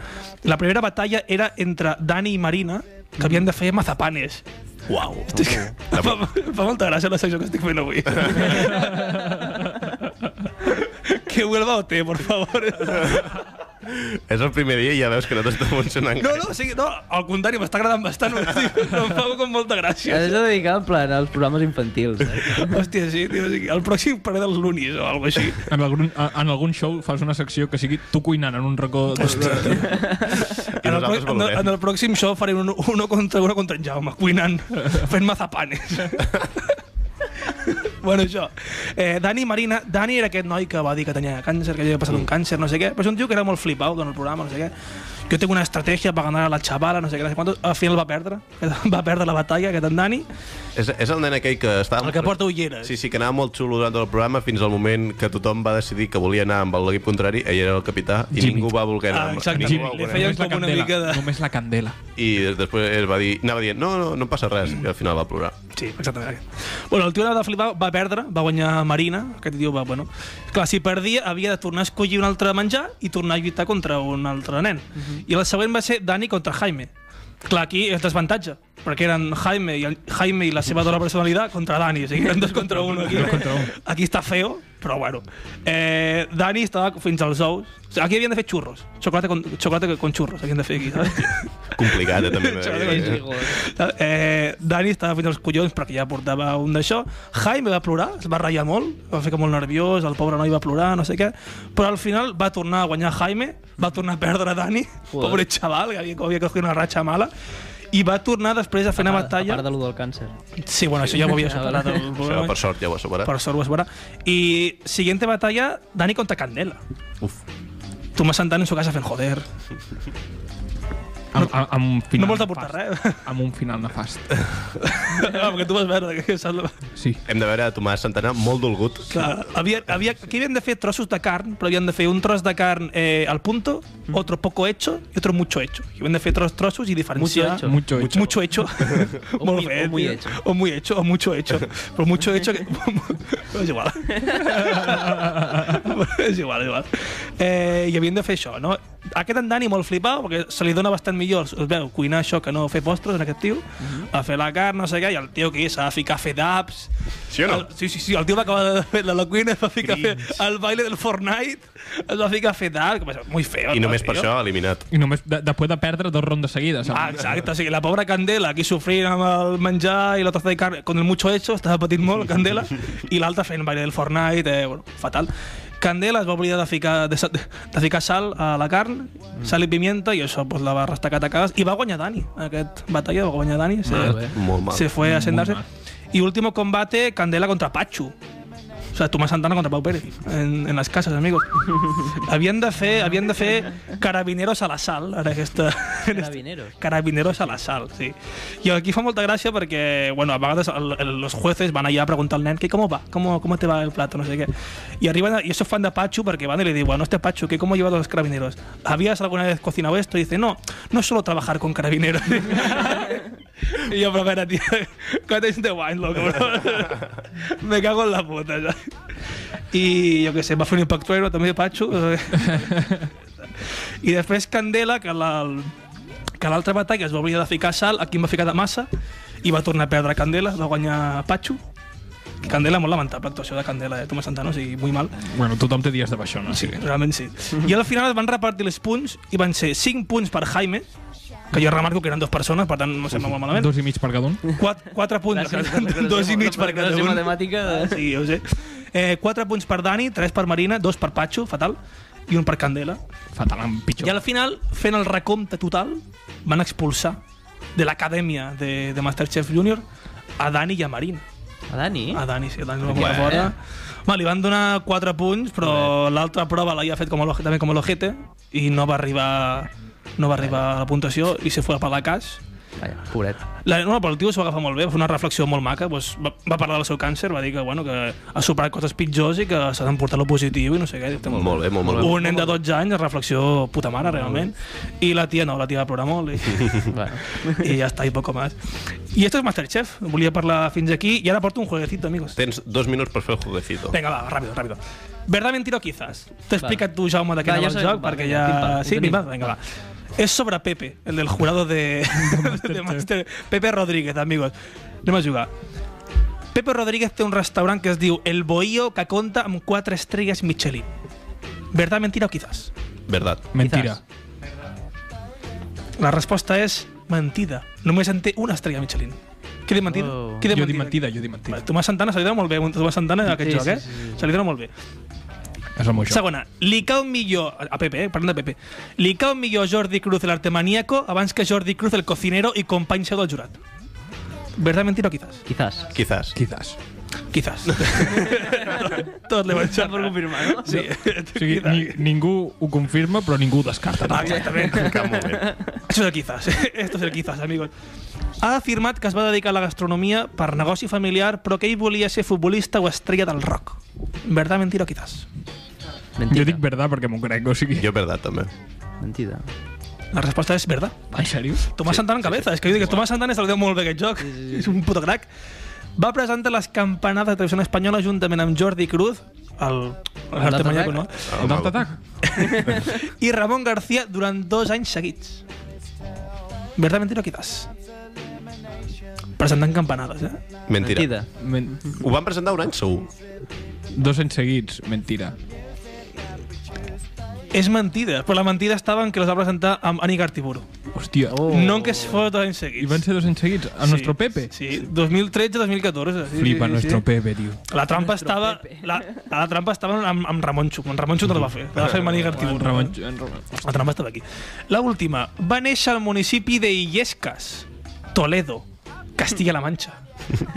Speaker 4: La primera batalla era entre Dani i Marina, que havien de fer mazapanes. Uau. Fa, fa molta gràcia la secció que estic fent avui. que vuelva OT, por favor.
Speaker 1: És el primer dia i ja veus que no t'està funcionant
Speaker 4: No, no, sí, no, al contrari, m'està agradant bastant, ho dic, no em fa com molta gràcia.
Speaker 3: Has de dedicar en plan als programes infantils. Eh?
Speaker 4: Hòstia, sí, tio, sí, el pròxim paré dels lunis o alguna així.
Speaker 2: En algun, en algun show fas una secció que sigui tu cuinant en un racó... De...
Speaker 1: I
Speaker 4: En el,
Speaker 1: nosaltres
Speaker 4: pro- en, el,
Speaker 1: valorem.
Speaker 4: en el pròxim show faré un, uno contra uno contra en Jaume, cuinant, fent mazapanes. bueno, això. Eh, Dani Marina, Dani era aquest noi que va dir que tenia càncer, que havia passat un càncer, no sé què, però és un tio que era molt flipau en el programa, no sé què. Jo tinc una estratègia per ganar a la xavala, no sé què, no sé quantos. Al final va perdre, va perdre la batalla, aquest en Dani.
Speaker 1: És, és el nen aquell que està...
Speaker 4: El que porta ulleres.
Speaker 1: Sí, sí, que anava molt xulo durant el programa fins al moment que tothom va decidir que volia anar amb l'equip contrari, ell era el capità, i
Speaker 2: Jimmy.
Speaker 1: ningú va voler anar.
Speaker 4: Ah,
Speaker 1: amb-
Speaker 4: exacte.
Speaker 1: ningú va
Speaker 4: Jimmy.
Speaker 1: voler
Speaker 4: Li
Speaker 1: anar.
Speaker 4: feia Feien com una
Speaker 2: candela,
Speaker 4: mica de-
Speaker 2: Només la candela.
Speaker 1: I després es va dir, anava dient, no, no, no em passa res, i al final va plorar.
Speaker 4: Sí, exactament. Bueno, el tio anava de flipar, va perdre, va guanyar Marina, aquest tio va, bueno... Clar, si perdia, havia de tornar a escollir un altre menjar i tornar a lluitar contra un altre nen.
Speaker 2: Mhm.
Speaker 4: I la següent va ser Dani contra Jaime. Clar, aquí és desavantatge, perquè eren Jaime i, el, Jaime i la seva doble personalitat contra Dani, o sigui, eren dos contra un aquí.
Speaker 2: contra un.
Speaker 4: Aquí està feo, però bueno. Eh, Dani estava fins als ous. O sigui, aquí havien de fer xurros, xocolata con, xocolata con xurros, havien de fer aquí, saps?
Speaker 1: Complicat, eh, també. m'he de dir, eh?
Speaker 4: Eh, Dani estava fins als collons perquè ja portava un d'això. Jaime va plorar, es va ratllar molt, va fer que molt nerviós, el pobre noi va plorar, no sé què. Però al final va tornar a guanyar Jaime, va tornar a perdre Dani,
Speaker 3: Joder.
Speaker 4: pobre xaval, que havia, que havia cogido una ratxa mala, i va tornar després a fer una
Speaker 3: A part
Speaker 4: batalla...
Speaker 3: de lo del càncer.
Speaker 4: Sí, bueno, això ja ho havia superat. El...
Speaker 1: Això, per sort, ja ho ha superat.
Speaker 4: Per sort ho has veurà. I siguiente batalla, Dani contra Candela.
Speaker 1: Uf.
Speaker 4: Tomás Santana en su casa fent joder.
Speaker 2: Amb, amb, amb un final
Speaker 4: no vols aportar
Speaker 2: nefast.
Speaker 4: res.
Speaker 2: Amb un final nefast.
Speaker 4: Ah, perquè tu vas veure que saps...
Speaker 2: Sí.
Speaker 1: Hem de veure a Tomàs Santana molt dolgut.
Speaker 4: Clar, havia, havia, aquí havien de fer trossos de carn, però havien de fer un tros de carn eh, al punto,
Speaker 3: Mm.
Speaker 4: otro poco hecho i otro mucho hecho. I havien de fer tros, trossos i diferenciar...
Speaker 3: Mucho hecho.
Speaker 2: Mucho hecho.
Speaker 4: Mucho hecho.
Speaker 3: O
Speaker 4: Molt
Speaker 3: muy-
Speaker 4: bé,
Speaker 3: o muy
Speaker 4: tio.
Speaker 3: hecho.
Speaker 4: O muy hecho, o mucho hecho. Però mucho hecho... Que... és igual. és igual, és igual. Eh, I havien de fer això, no? Aquest en Dani molt flipau, perquè se li dona bastant millor, es veu, cuinar això que no fer postres en aquest tio,
Speaker 3: Mm-hmm.
Speaker 4: a fer la carn, no sé què, i el tio que s'ha de ficar a fer dabs,
Speaker 1: Sí o no?
Speaker 4: el, sí, sí, sí, el tio va acabar de fer la, la cuina, es va ficar a fer el baile del Fortnite, es va ficar a fer tal, que va ser molt feo.
Speaker 1: I
Speaker 4: no,
Speaker 1: només per
Speaker 4: tio?
Speaker 1: això, eliminat.
Speaker 2: I només de, després de perdre dos rondes seguides.
Speaker 4: Ah, exacte, o sigui, la pobra Candela, aquí sofrint amb el menjar i la torta de carn, con el mucho hecho, estava patint molt, Candela, i l'altra fent baile del Fortnite, eh, bueno, fatal. Candela es va oblidar de ficar, de, sa- de ficar sal a la carn,
Speaker 1: Mm.
Speaker 4: sal i pimienta, i això pues, la va restacar a tacades, i va guanyar Dani, aquest batalla, va guanyar Dani, se,
Speaker 1: Molt mal.
Speaker 4: se fue a sentarse.
Speaker 2: mal.
Speaker 4: Y último combate, Candela contra Pachu. O sea, Tomás Santana contra Pau Pérez en, en las casas, amigos. havien de fer, havien de fer carabineros a la sal, ara aquesta...
Speaker 3: Carabineros.
Speaker 4: Carabineros a la sal, sí. I aquí fa molta gràcia perquè, bueno, a vegades el, el, los jueces van allà a preguntar al nen que com va, com, com te va el plato, no sé què. I arriben, a, i això fan de Pachu perquè van i li diuen, este hostia, Pachu, que com llevas los carabineros? ¿Habías alguna vez cocinado esto? Y dice, no, no suelo trabajar con carabineros. y yo, pero espera, tío, ¿cuánto es de wine, loco, bro? Me cago en la puta, ¿sabes? I jo què sé, va fer un impactuero també, Pachu. I després Candela, que la, que l'altra batalla es va oblidar de ficar sal, aquí em va ficar de massa, i va tornar a perdre Candela, va guanyar Pachu. Candela, molt lamentable, actuació de Candela, eh? Tomàs Santana, o sigui, molt mal.
Speaker 2: Bueno, tothom té dies de baixona.
Speaker 4: Sí,
Speaker 2: Sí.
Speaker 4: realment sí. I al final es van repartir els punts i van ser 5 punts per Jaime, que jo remarco que eren dues persones, per tant no em sembla molt malament.
Speaker 2: Dos i mig per cada un.
Speaker 4: 4, 4 punts,
Speaker 3: Gràcies per la classe-
Speaker 4: dos i mig per
Speaker 3: la
Speaker 4: cada
Speaker 3: classe
Speaker 4: un.
Speaker 3: matemàtica de-
Speaker 4: Sí, ja ho sé. Eh, 4 punts per Dani, 3 per Marina, 2 per Patxo, fatal, i un per Candela.
Speaker 2: Fatal, amb pitjor.
Speaker 4: I al final, fent el recompte total, van expulsar de l'acadèmia de, de Masterchef Junior a Dani i a Marina.
Speaker 3: A Dani?
Speaker 4: A Dani, sí, a Dani el va
Speaker 1: Bueno.
Speaker 4: posar fora. Va, li van donar 4 punts, però l'altra prova l'havia fet com el, també com l'Ojete i no va arribar no va arribar a la puntuació i se fue a la cas.
Speaker 3: Vaja, pobret.
Speaker 4: La, no, però el tio s'ho va agafar molt bé, va fer una reflexió molt maca, doncs, va, va parlar del seu càncer, va dir que, bueno, que ha superat coses pitjors i que s'ha d'emportar lo positiu i no sé què.
Speaker 1: Molt, molt bé, molt, molt bé.
Speaker 4: Un nen de 12 anys, reflexió puta mare, realment. I la tia no, la tia va plorar molt. I...
Speaker 3: Bueno.
Speaker 4: y ya está, y poco más. Y esto es Masterchef. Volía para la fins aquí y ahora aporto un jueguecito, amigos.
Speaker 1: Tens dos minuts per fer el jueguecito.
Speaker 4: Venga, va, rápido, rápido. ¿Verdad, mentira o quizás? Te explica
Speaker 3: Vale.
Speaker 4: tú, Jaume, de qué
Speaker 3: Va,
Speaker 4: anava
Speaker 3: ya
Speaker 4: el
Speaker 3: sabem,
Speaker 4: joc,
Speaker 3: va,
Speaker 4: perquè
Speaker 3: vinga,
Speaker 4: ja...
Speaker 3: pim-pam,
Speaker 4: sí, pim,
Speaker 3: pim-pam.
Speaker 4: pam, venga, va. Es sobre Pepe, el del jurado de, de Master... Pepe Rodríguez, amigos. Anem a jugar. Pepe Rodríguez té un restaurant que es diu El Bohío, que compta amb 4 estrelles Michelin. Verdad, mentira o quizás?
Speaker 1: Verdad.
Speaker 2: Mentira.
Speaker 4: La resposta és mentida. Només en té una estrella Michelin. Qui diu mentida?
Speaker 3: Oh.
Speaker 4: Qui diu
Speaker 2: Jo dic mentida, jo dic
Speaker 4: Va,
Speaker 2: mentida.
Speaker 4: Tomàs Santana se li dona molt bé, Tomàs Santana d'aquest
Speaker 3: Sí,
Speaker 4: joc,
Speaker 3: sí,
Speaker 4: eh?
Speaker 3: sí, sí.
Speaker 4: Se li dona molt bé.
Speaker 2: És el meu joc.
Speaker 4: Segona, li cau millor... A Pepe, eh? Parlem de Pepe. Li cau millor Jordi Cruz l'artemaníaco abans que Jordi Cruz el cocinero i company seu del jurat. Verdad, mentira o quizás?
Speaker 3: Quizás.
Speaker 1: Quizás.
Speaker 2: Quizás.
Speaker 4: Quizás. Tot l'he
Speaker 3: S'ha
Speaker 4: menjat.
Speaker 3: per confirmar, no?
Speaker 4: Sí.
Speaker 2: O sigui, ni, ningú ho confirma, però ningú ho descarta.
Speaker 4: Ah,
Speaker 2: tampoc.
Speaker 4: Exactament.
Speaker 1: Que molt bé.
Speaker 4: Això és el quizás. Esto es el quizás, amigos. Ha afirmat que es va dedicar a la gastronomia per negoci familiar, però que ell volia ser futbolista o estrella del rock. Verdad, mentira o quizás?
Speaker 2: Jo
Speaker 3: Mentida.
Speaker 2: dic verdad perquè m'ho crec, o sigui...
Speaker 1: Jo verdad, també.
Speaker 3: Mentida.
Speaker 4: La resposta és verdad.
Speaker 2: En sèrio?
Speaker 4: Tomàs Santana en cabeza. És que jo dic que Tomàs Santana se li deu molt bé aquest joc. És un puto crac. Va presentar les campanades de televisió espanyola juntament amb Jordi Cruz, el, el
Speaker 3: Alta
Speaker 4: artemaniaco, no?
Speaker 3: Tabac.
Speaker 2: El Dalt Attack?
Speaker 4: i Ramon García durant dos anys seguits. Verdad, mentira o quizás? Presentant campanades, eh?
Speaker 1: Mentira.
Speaker 3: Mentida.
Speaker 2: Men
Speaker 1: Ho van presentar un any, segur.
Speaker 2: dos anys seguits, mentira.
Speaker 4: És mentida, però la mentida estava en que les va presentar amb Ani Gartiburu.
Speaker 2: Hòstia.
Speaker 4: Oh. No en que es fos dos anys seguits.
Speaker 2: I van ser dos anys seguits, a sí. nuestro Pepe.
Speaker 4: Sí, 2013-2014. Sí,
Speaker 2: Flipa,
Speaker 4: sí, sí,
Speaker 2: nuestro
Speaker 4: sí.
Speaker 2: Pepe, tio.
Speaker 4: La trampa estava... La, la trampa estava amb, amb Ramon Xuc. En Ramon Xuc no la va fer. La va fer Mani Gartiburu.
Speaker 2: Ramon, en Ramon.
Speaker 4: La trampa estava aquí. La última. Va néixer al municipi de Illescas, Toledo, Castilla-La Mancha.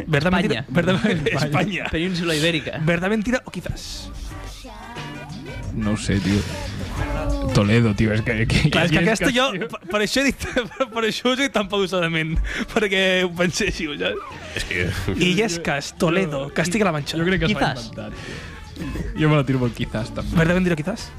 Speaker 4: Verdad, mentira?
Speaker 3: España.
Speaker 4: Verdad, España.
Speaker 3: Península Ibèrica.
Speaker 4: Verdad, mentira o quizás?
Speaker 2: No ho sé, tio. Toledo, tio, és que... que
Speaker 4: Clar, és que
Speaker 2: és
Speaker 4: aquesta jo,
Speaker 2: tio.
Speaker 4: per- per això he dit, per, per això us he dit tan pausadament, perquè ho pensé així, ho saps?
Speaker 1: És que...
Speaker 4: Illescas, Toledo, Castilla-La Mancha.
Speaker 2: Jo crec que s'ha
Speaker 3: Quizás.
Speaker 2: inventat. tio. Jo me la tiro pel quizás, també.
Speaker 4: Verdad, mentira o quizás?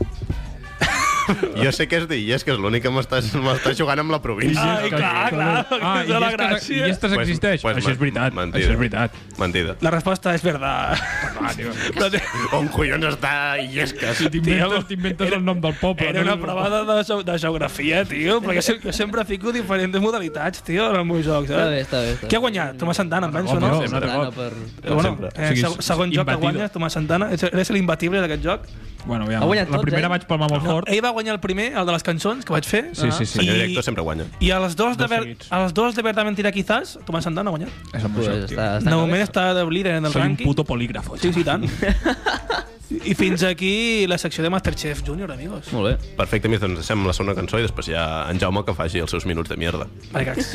Speaker 1: Jo sé què és dir, és que és l'únic que m'estàs m'estàs jugant amb la província.
Speaker 4: Ai, clar, clar,
Speaker 2: Ah,
Speaker 4: aquesta és
Speaker 2: i
Speaker 4: la
Speaker 2: aquestes, i
Speaker 4: gràcia.
Speaker 2: aquestes
Speaker 1: Pues-
Speaker 2: existeix?
Speaker 1: pues
Speaker 2: Això és veritat,
Speaker 1: mentida.
Speaker 2: això és veritat.
Speaker 1: Mentida.
Speaker 4: La resposta és verdad.
Speaker 2: Va, tio.
Speaker 4: No té-
Speaker 1: On collons està Illescas?
Speaker 2: T'inventes t'inventes el nom del poble.
Speaker 4: Era
Speaker 2: no?
Speaker 4: una prova de, de, geo- de geografia, tio, perquè se- jo sempre fico diferents modalitats, tio, en els meus jocs.
Speaker 3: Està bé,
Speaker 4: Eh?
Speaker 3: està bé. Està
Speaker 4: Qui ha guanyat? Tomàs Santana, em penso,
Speaker 2: Home,
Speaker 4: no?
Speaker 2: home.
Speaker 1: Sempre.
Speaker 3: Santana per...
Speaker 4: Però bueno,
Speaker 1: Sempre.
Speaker 4: eh,
Speaker 2: O sigui,
Speaker 4: seg- segon joc que
Speaker 2: imbatible.
Speaker 4: guanyes, Tomàs Santana, Ets- eres l'imbatible d'aquest joc.
Speaker 2: Bueno, aviam,
Speaker 3: Ha guanyat
Speaker 2: la
Speaker 3: tots,
Speaker 2: primera
Speaker 3: eh?
Speaker 2: vaig palmar molt fort.
Speaker 4: Ell va guanyar el primer, el de les cançons, que vaig fer.
Speaker 2: Sí, sí, sí.
Speaker 1: Senyor
Speaker 4: I-
Speaker 1: director sempre guanya.
Speaker 4: I els dos, de
Speaker 2: Dos
Speaker 4: ver,
Speaker 2: seguits.
Speaker 4: els dos de Verdad Mentira Quizás, Tomàs Santana ha guanyat.
Speaker 2: És el meu
Speaker 3: Pues
Speaker 2: joc, tio.
Speaker 3: està,
Speaker 4: De
Speaker 3: està
Speaker 4: moment està de líder en el
Speaker 2: Soy un
Speaker 4: rànquing.
Speaker 2: puto polígrafo.
Speaker 4: Sí, sí, tant. I i fins aquí la secció de Masterchef Junior, amigos.
Speaker 3: Molt bé.
Speaker 1: Perfecte, més doncs deixem la segona cançó i després ja en Jaume que faci els seus minuts de mierda.
Speaker 4: Vale, cracs.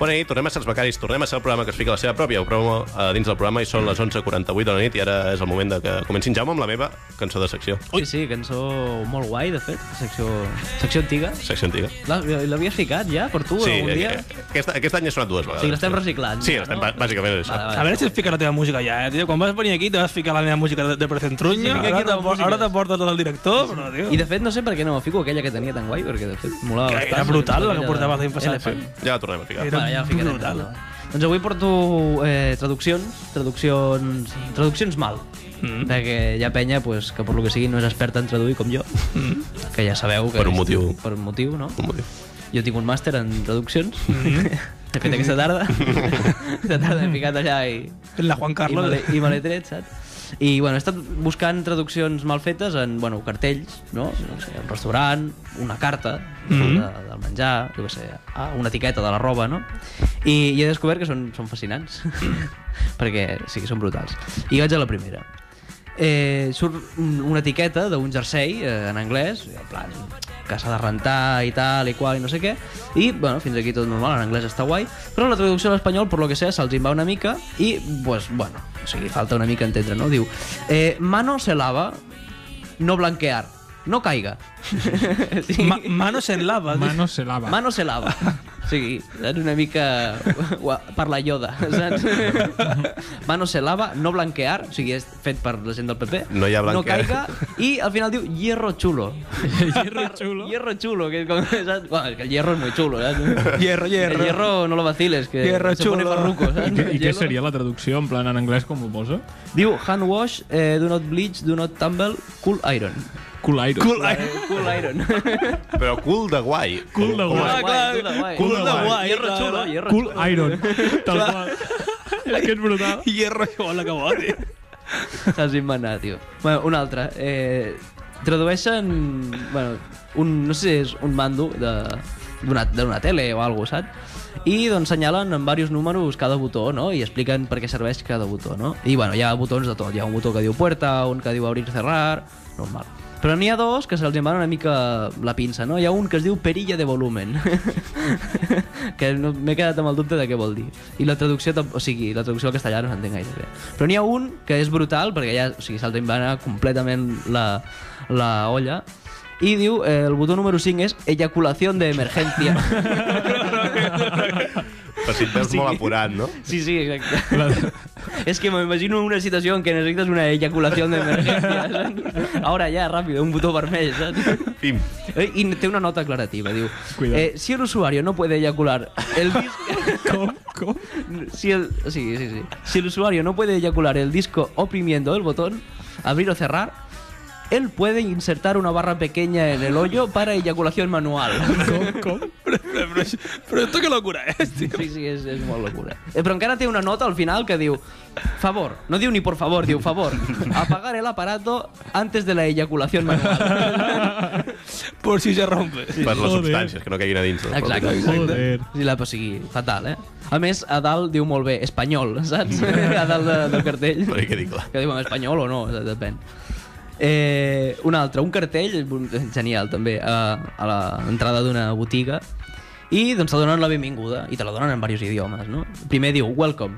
Speaker 1: Bona nit, tornem a ser els becaris, tornem a ser el programa que es fica la seva pròpia promo eh, dins del programa i són les 11.48 de la nit i ara és el moment de que comenci en Jaume amb la meva cançó de secció.
Speaker 3: Sí, sí, cançó molt guai, de fet. Secció, secció antiga.
Speaker 1: Secció antiga.
Speaker 3: La- L'havies ficat ja, per tu, algun dia?
Speaker 1: eh, aquest, aquest any ha sonat dues vegades.
Speaker 3: O sigui, l'estem reciclant,
Speaker 1: Sí,
Speaker 3: ja,
Speaker 1: l'estem,
Speaker 3: no?
Speaker 1: no? bàsicament és això.
Speaker 3: Vale, vale.
Speaker 4: A veure si et fica la teva música ja, eh, tio. Quan vas venir aquí te vas ficar la meva música de, de Precentruño,
Speaker 3: Sí,
Speaker 4: sí,
Speaker 3: fica
Speaker 4: ara,
Speaker 3: aquí
Speaker 4: te,
Speaker 3: la
Speaker 4: por-
Speaker 3: música.
Speaker 4: ara te porta tot el director, però, tio...
Speaker 3: I de fet no sé per què no me fico aquella que tenia tan guai, perquè de fet molava
Speaker 4: Que
Speaker 3: bastant.
Speaker 4: era brutal la que
Speaker 3: Aquella
Speaker 4: portava l'any passat,
Speaker 3: Elephant.
Speaker 1: Ja la tornem a ficar.
Speaker 4: Era-
Speaker 3: Bueno, ja la ficarem.
Speaker 4: brutal.
Speaker 3: Doncs avui porto eh, traduccions, traduccions, traduccions mal. Mm. Perquè hi ha penya pues, que per lo que sigui no és experta en traduir com jo, mm. que ja sabeu que...
Speaker 1: Per un
Speaker 3: és-
Speaker 1: motiu.
Speaker 3: Per un motiu, no?
Speaker 1: Com ho diu?
Speaker 3: Jo tinc un màster en traduccions, he fet aquesta tarda, aquesta tarda he ficat allà i,
Speaker 4: La Juan Carlos...
Speaker 3: i me l'he- I me l'he tret, saps? I, bueno, he estat buscant traduccions mal fetes en, bueno, cartells, no? no sé, un restaurant, una carta mm -hmm.
Speaker 4: Mm-hmm.
Speaker 3: de, del menjar, jo què sé, ah, una etiqueta de la roba, no? I, i he descobert que són, són fascinants, perquè sí que són brutals. I vaig a la primera. Eh, surt un- una etiqueta d'un jersei eh, en anglès, en plan, que s'ha de rentar i tal i qual i no sé què, i bueno, fins aquí tot normal, en anglès està guai, però la traducció a l'espanyol, per lo que sea, se'ls en va una mica i, pues, bueno, o sigui, falta una mica entendre, no? Diu, eh, mano se lava no blanquear. No caiga. sí.
Speaker 4: Ma manos en lava.
Speaker 2: Manos se lava.
Speaker 3: Mano se lava. Sí, és una mica ua, per la ioda, saps? Mano se lava, no blanquear, o sigui, és fet per la gent del PP.
Speaker 1: No hi ha blanquear.
Speaker 3: No caiga, i al final diu hierro chulo.
Speaker 2: Hierro chulo.
Speaker 3: Hierro chulo, que és com... Saps? Bueno, és que el hierro és muy chulo, saps?
Speaker 4: Hierro,
Speaker 3: El
Speaker 4: hierro.
Speaker 3: hierro no lo vaciles, que
Speaker 4: Hierro
Speaker 3: se pone
Speaker 4: chulo.
Speaker 3: barruco, saps?
Speaker 2: I, què, I què
Speaker 3: Hielo.
Speaker 2: seria la traducció, en plan, en anglès, com ho posa?
Speaker 3: Diu, hand wash, eh, do not bleach, do not tumble, cool iron.
Speaker 2: Cool iron.
Speaker 4: Cool, ai,
Speaker 3: Cool iron.
Speaker 1: Però cul de guai.
Speaker 2: Cul de guai.
Speaker 3: Guai,
Speaker 4: clar.
Speaker 3: cool de guai.
Speaker 4: Cool
Speaker 2: de
Speaker 4: guai,
Speaker 3: Hierro
Speaker 4: clar.
Speaker 3: chulo, hierro
Speaker 2: Cool
Speaker 3: chulo.
Speaker 2: iron. Tal qual. és que és brutal.
Speaker 4: hierro, hola, que bo, tio.
Speaker 3: Saps invenar, tio. Bueno, un altre. Eh, tradueixen... Bueno, un, no sé si és un mando de d'una d'una tele o alguna cosa, saps? I doncs senyalen en diversos números cada botó, no? I expliquen per què serveix cada botó, no? I bueno, hi ha botons de tot. Hi ha un botó que diu puerta, un que diu abrir, cerrar... Normal. Però n'hi ha dos que se'ls en van una mica la pinça, no? Hi ha un que es diu perilla de volumen, que no, m'he quedat amb el dubte de què vol dir. I la traducció, tam- o sigui, la traducció al castellà no s'entén gaire bé. Però n'hi ha un que és brutal, perquè ja, o sigui, se'ls en va anar completament la, la olla, i diu, eh, el botó número 5 és eyaculación de emergencia.
Speaker 1: Però si et veus molt apurat, no?
Speaker 3: sí, sí, exacte. es que me imagino una situació en què necessites una eyaculación de emergencia. saps? Ahora ya, ràpido, un botó vermell, saps?
Speaker 1: Pim.
Speaker 3: Eh, Y tiene una nota aclarativa, digo.
Speaker 2: Cuidado.
Speaker 3: Eh, si el usuario no puede eyacular el disco...
Speaker 2: Com? Com?
Speaker 3: si el, sí, sí, sí. Si el usuario no puede eyacular el disco oprimiendo el botón, abrir o cerrar, él puede insertar una barra pequeña en el hoyo para eyaculación manual.
Speaker 2: Com? Com?
Speaker 4: Però, però, però, però esto que locura és, tio.
Speaker 3: Sí, sí, és, és molt locura. Eh, però encara té una nota al final que diu favor, no diu ni por favor, diu favor, apagar el aparato antes de la eyaculación manual.
Speaker 4: Por si se rompe.
Speaker 1: Per les
Speaker 2: Joder.
Speaker 1: substàncies, que no caiguin a dins. del propi.
Speaker 3: Exacte.
Speaker 2: Joder.
Speaker 3: Sí, la, o sigui, fatal, eh? A més, a dalt diu molt bé espanyol, saps? A dalt de, del cartell.
Speaker 1: Perquè quedi clar.
Speaker 3: Que diuen espanyol o no, saps? depèn. Eh, un altre, un cartell, genial també, a, a l'entrada d'una botiga, i doncs te donen la benvinguda, i te la donen en diversos idiomes, no? Primer diu welcome,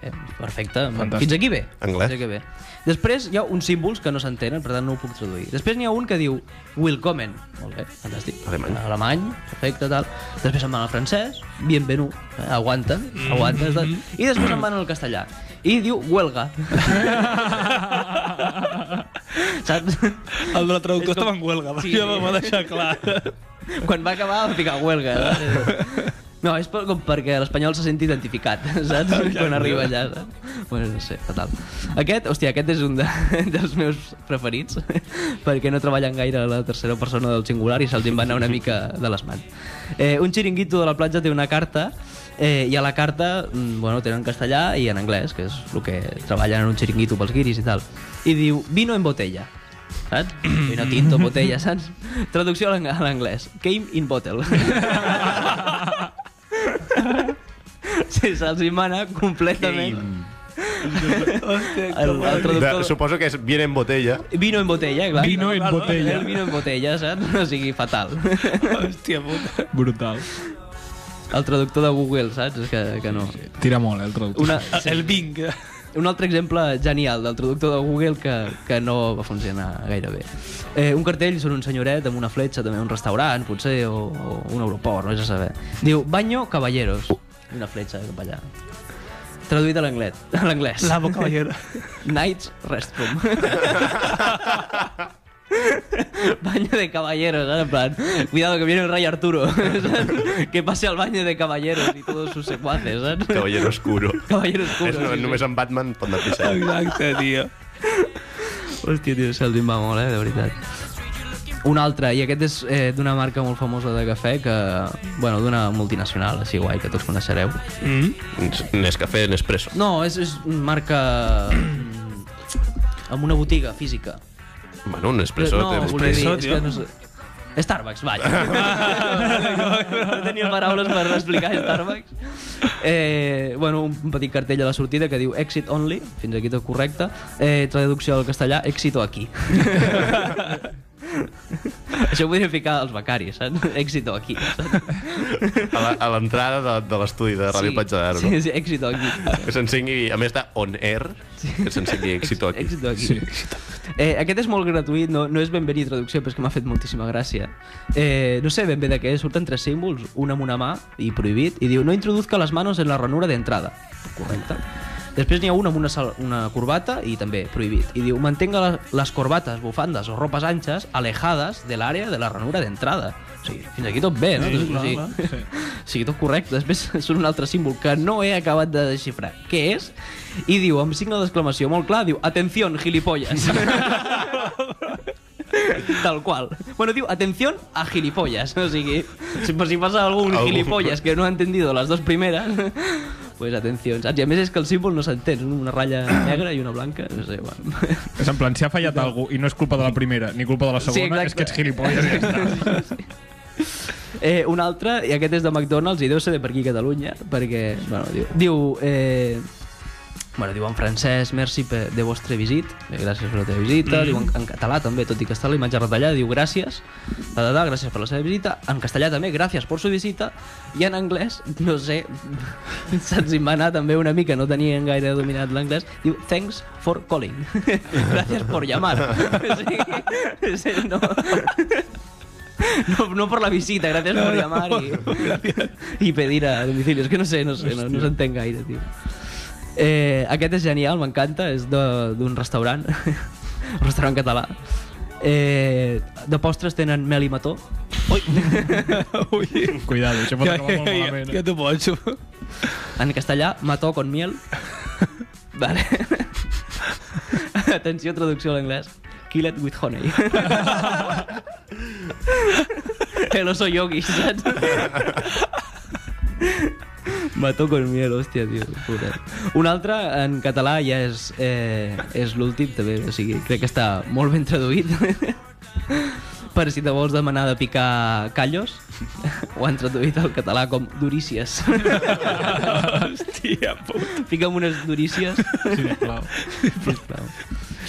Speaker 3: eh, perfecte,
Speaker 2: Fantàstic.
Speaker 3: fins aquí bé.
Speaker 1: Anglès.
Speaker 3: Fins aquí bé. Després hi ha uns símbols que no s'entenen, per tant no ho puc traduir. Després n'hi ha un que diu willkommen, molt bé, fantàstic.
Speaker 1: Alemany.
Speaker 3: Alemany, perfecte, tal. Després se'n van al francès, bienvenu, eh, aguanta, aguanta. tal. I després se'n van al castellà. I diu huelga. Saps?
Speaker 4: El de la traductor
Speaker 3: És com-
Speaker 4: estava en huelga,
Speaker 3: Sí,
Speaker 4: sí, ja
Speaker 3: sí.
Speaker 4: m'ho va deixar clar.
Speaker 3: Quan va acabar va ficar huelga. No, és per, com perquè l'espanyol se senti identificat, saps? Quan arriba allà, saps? Bueno, no sé, fatal. Aquest, hòstia, aquest és un de, dels meus preferits, perquè no treballen gaire la tercera persona del singular i se'ls en va anar una mica de les mans. Eh, un xiringuito de la platja té una carta eh, i a la carta, mm, bueno, tenen en castellà i en anglès, que és el que treballen en un xiringuito pels guiris i tal. I diu, vino en botella. Saps? Vino tinto, botella, saps? Traducció a l'ang- a l'anglès. Came in bottle. Sí, se'ls hi mana completament.
Speaker 4: Hòstia,
Speaker 3: El, el
Speaker 1: De,
Speaker 3: traductor...
Speaker 1: suposo que és bien en botella.
Speaker 3: Vino en botella, clar.
Speaker 2: Vino en botella.
Speaker 3: El vino en botella, saps? O sigui, fatal.
Speaker 4: hòstia puta.
Speaker 2: Brutal.
Speaker 3: El traductor de Google, saps? És que, que no.
Speaker 2: Tira molt, eh, el traductor.
Speaker 3: Una,
Speaker 4: El Bing.
Speaker 3: un altre exemple genial del traductor de Google que, que no va funcionar gaire bé. Eh, un cartell sobre un senyoret amb una fletxa, també un restaurant, potser, o, o un aeroport, no és a saber. Diu, baño caballeros. I Una fletxa cap allà. Traduït a l'anglès. A l'anglès.
Speaker 4: La boca ballera.
Speaker 3: Knights Restroom. baño de caballeros, ¿sabes? En plan, cuidado que viene el Rey Arturo. ¿sabes? que pase al baño de caballeros y todos sus secuaces, ¿sabes?
Speaker 1: Caballero oscuro.
Speaker 3: Caballero oscuro,
Speaker 1: És, no,
Speaker 3: sí, sí.
Speaker 1: només en Batman pot anar pixant.
Speaker 4: Exacte, tio.
Speaker 3: Hòstia, tio, se'l va molt, eh, de veritat. Un altre, i aquest és eh, d'una marca molt famosa de cafè, que, bueno, d'una multinacional, així guai, que tots coneixereu.
Speaker 1: Nescafé, Nespresso.
Speaker 3: No, és, és una marca mm, amb una botiga física.
Speaker 1: Bueno, un Nespresso
Speaker 3: no,
Speaker 1: té un
Speaker 3: volia dir,
Speaker 4: Nespresso,
Speaker 3: és
Speaker 4: tio.
Speaker 3: que no sé. Starbucks, vaja. no tenia paraules per explicar Starbucks. Eh, bueno, un petit cartell a la sortida que diu Exit Only, fins aquí tot correcte. Eh, traducció al castellà, Exito aquí. Això ho podríem ficar als becaris, saps? Éxito aquí. Saps?
Speaker 1: A la- a l'entrada de, de l'estudi de Ràdio sí. Platja d'Aro.
Speaker 3: Sí,
Speaker 1: Sí.
Speaker 3: sí, èxito aquí.
Speaker 1: Que s'encengui, a més de on air, que s'encengui èxito aquí.
Speaker 3: Èxito aquí.
Speaker 2: Sí.
Speaker 3: Eh, aquest és molt gratuït, no, no és ben bé ni traducció, però és que m'ha fet moltíssima gràcia. Eh, no sé ben bé de què és, surten tres símbols, un amb una mà i prohibit, i diu no introduzca les manos en la ranura d'entrada. Correcte. Després n'hi ha un amb una, sal- una corbata i també prohibit. I diu, mantenga la- les corbates, bufandes o ropes anxes alejades de l'àrea de la ranura d'entrada. O sigui, fins aquí tot bé, no?
Speaker 4: Sí,
Speaker 3: o
Speaker 4: clar, clar.
Speaker 3: sigui, o sigui, tot correcte. Després surt un altre símbol que no he acabat de desxifrar. Què és? I diu, amb signe d'exclamació molt clar, diu, atención, gilipollas. Tal qual. Bueno, diu, atención a gilipollas. O sigui, si, per si passa algun
Speaker 1: Algú.
Speaker 3: gilipollas que no ha entendido las dos primeres, pues atenció, saps? I a més és que el símbol no s'entén, una ratlla negra i una blanca, no sé, bueno.
Speaker 2: És en plan, si ha fallat algú i no és culpa de la primera ni culpa de la
Speaker 3: Sí,
Speaker 2: segona,
Speaker 3: exacte.
Speaker 2: és que ets gilipolles. Ja està.
Speaker 3: Eh, un altre, i aquest és de McDonald's i deu ser de per aquí Catalunya, perquè, bueno, diu... diu eh, bueno, diu en francès, merci per, de vostre visit, eh, gràcies per la teva visita, mm. diu en, en català també, tot i que està la imatge retallada, diu gràcies, da, da, da, gràcies per la seva visita, en castellà també, gràcies per su visita, i en anglès, no sé, se'ns hi va anar també una mica, no tenien gaire dominat l'anglès, diu thanks for calling, gràcies per llamar. sí, sí, no, no, no por la visita, gracias por llamar y, y pedir a domicilio. És que no sé, no sé, no, no s'entén gaire, tio. Eh, aquest és genial, m'encanta, és de- d'un restaurant, un restaurant català. Eh, de postres tenen mel i mató.
Speaker 4: Ui,
Speaker 2: Cuidado, això pot
Speaker 4: ja,
Speaker 2: acabar Em molt
Speaker 4: ja, ja,
Speaker 2: malament. eh.
Speaker 4: ja t'ho pots.
Speaker 3: En castellà, mató con miel. Vale. Atenció, traducció a l'anglès. Kill it with honey. El oso yogi, saps? Mató con miel, hòstia, tio. Pobret. Un altre, en català, ja és, eh, és l'últim, també. O sigui, crec que està molt ben traduït. per si te vols demanar de picar callos, ho han traduït al català com durícies.
Speaker 4: Hòstia, puta.
Speaker 3: Fica'm unes durícies.
Speaker 2: Sisplau.
Speaker 3: sisplau.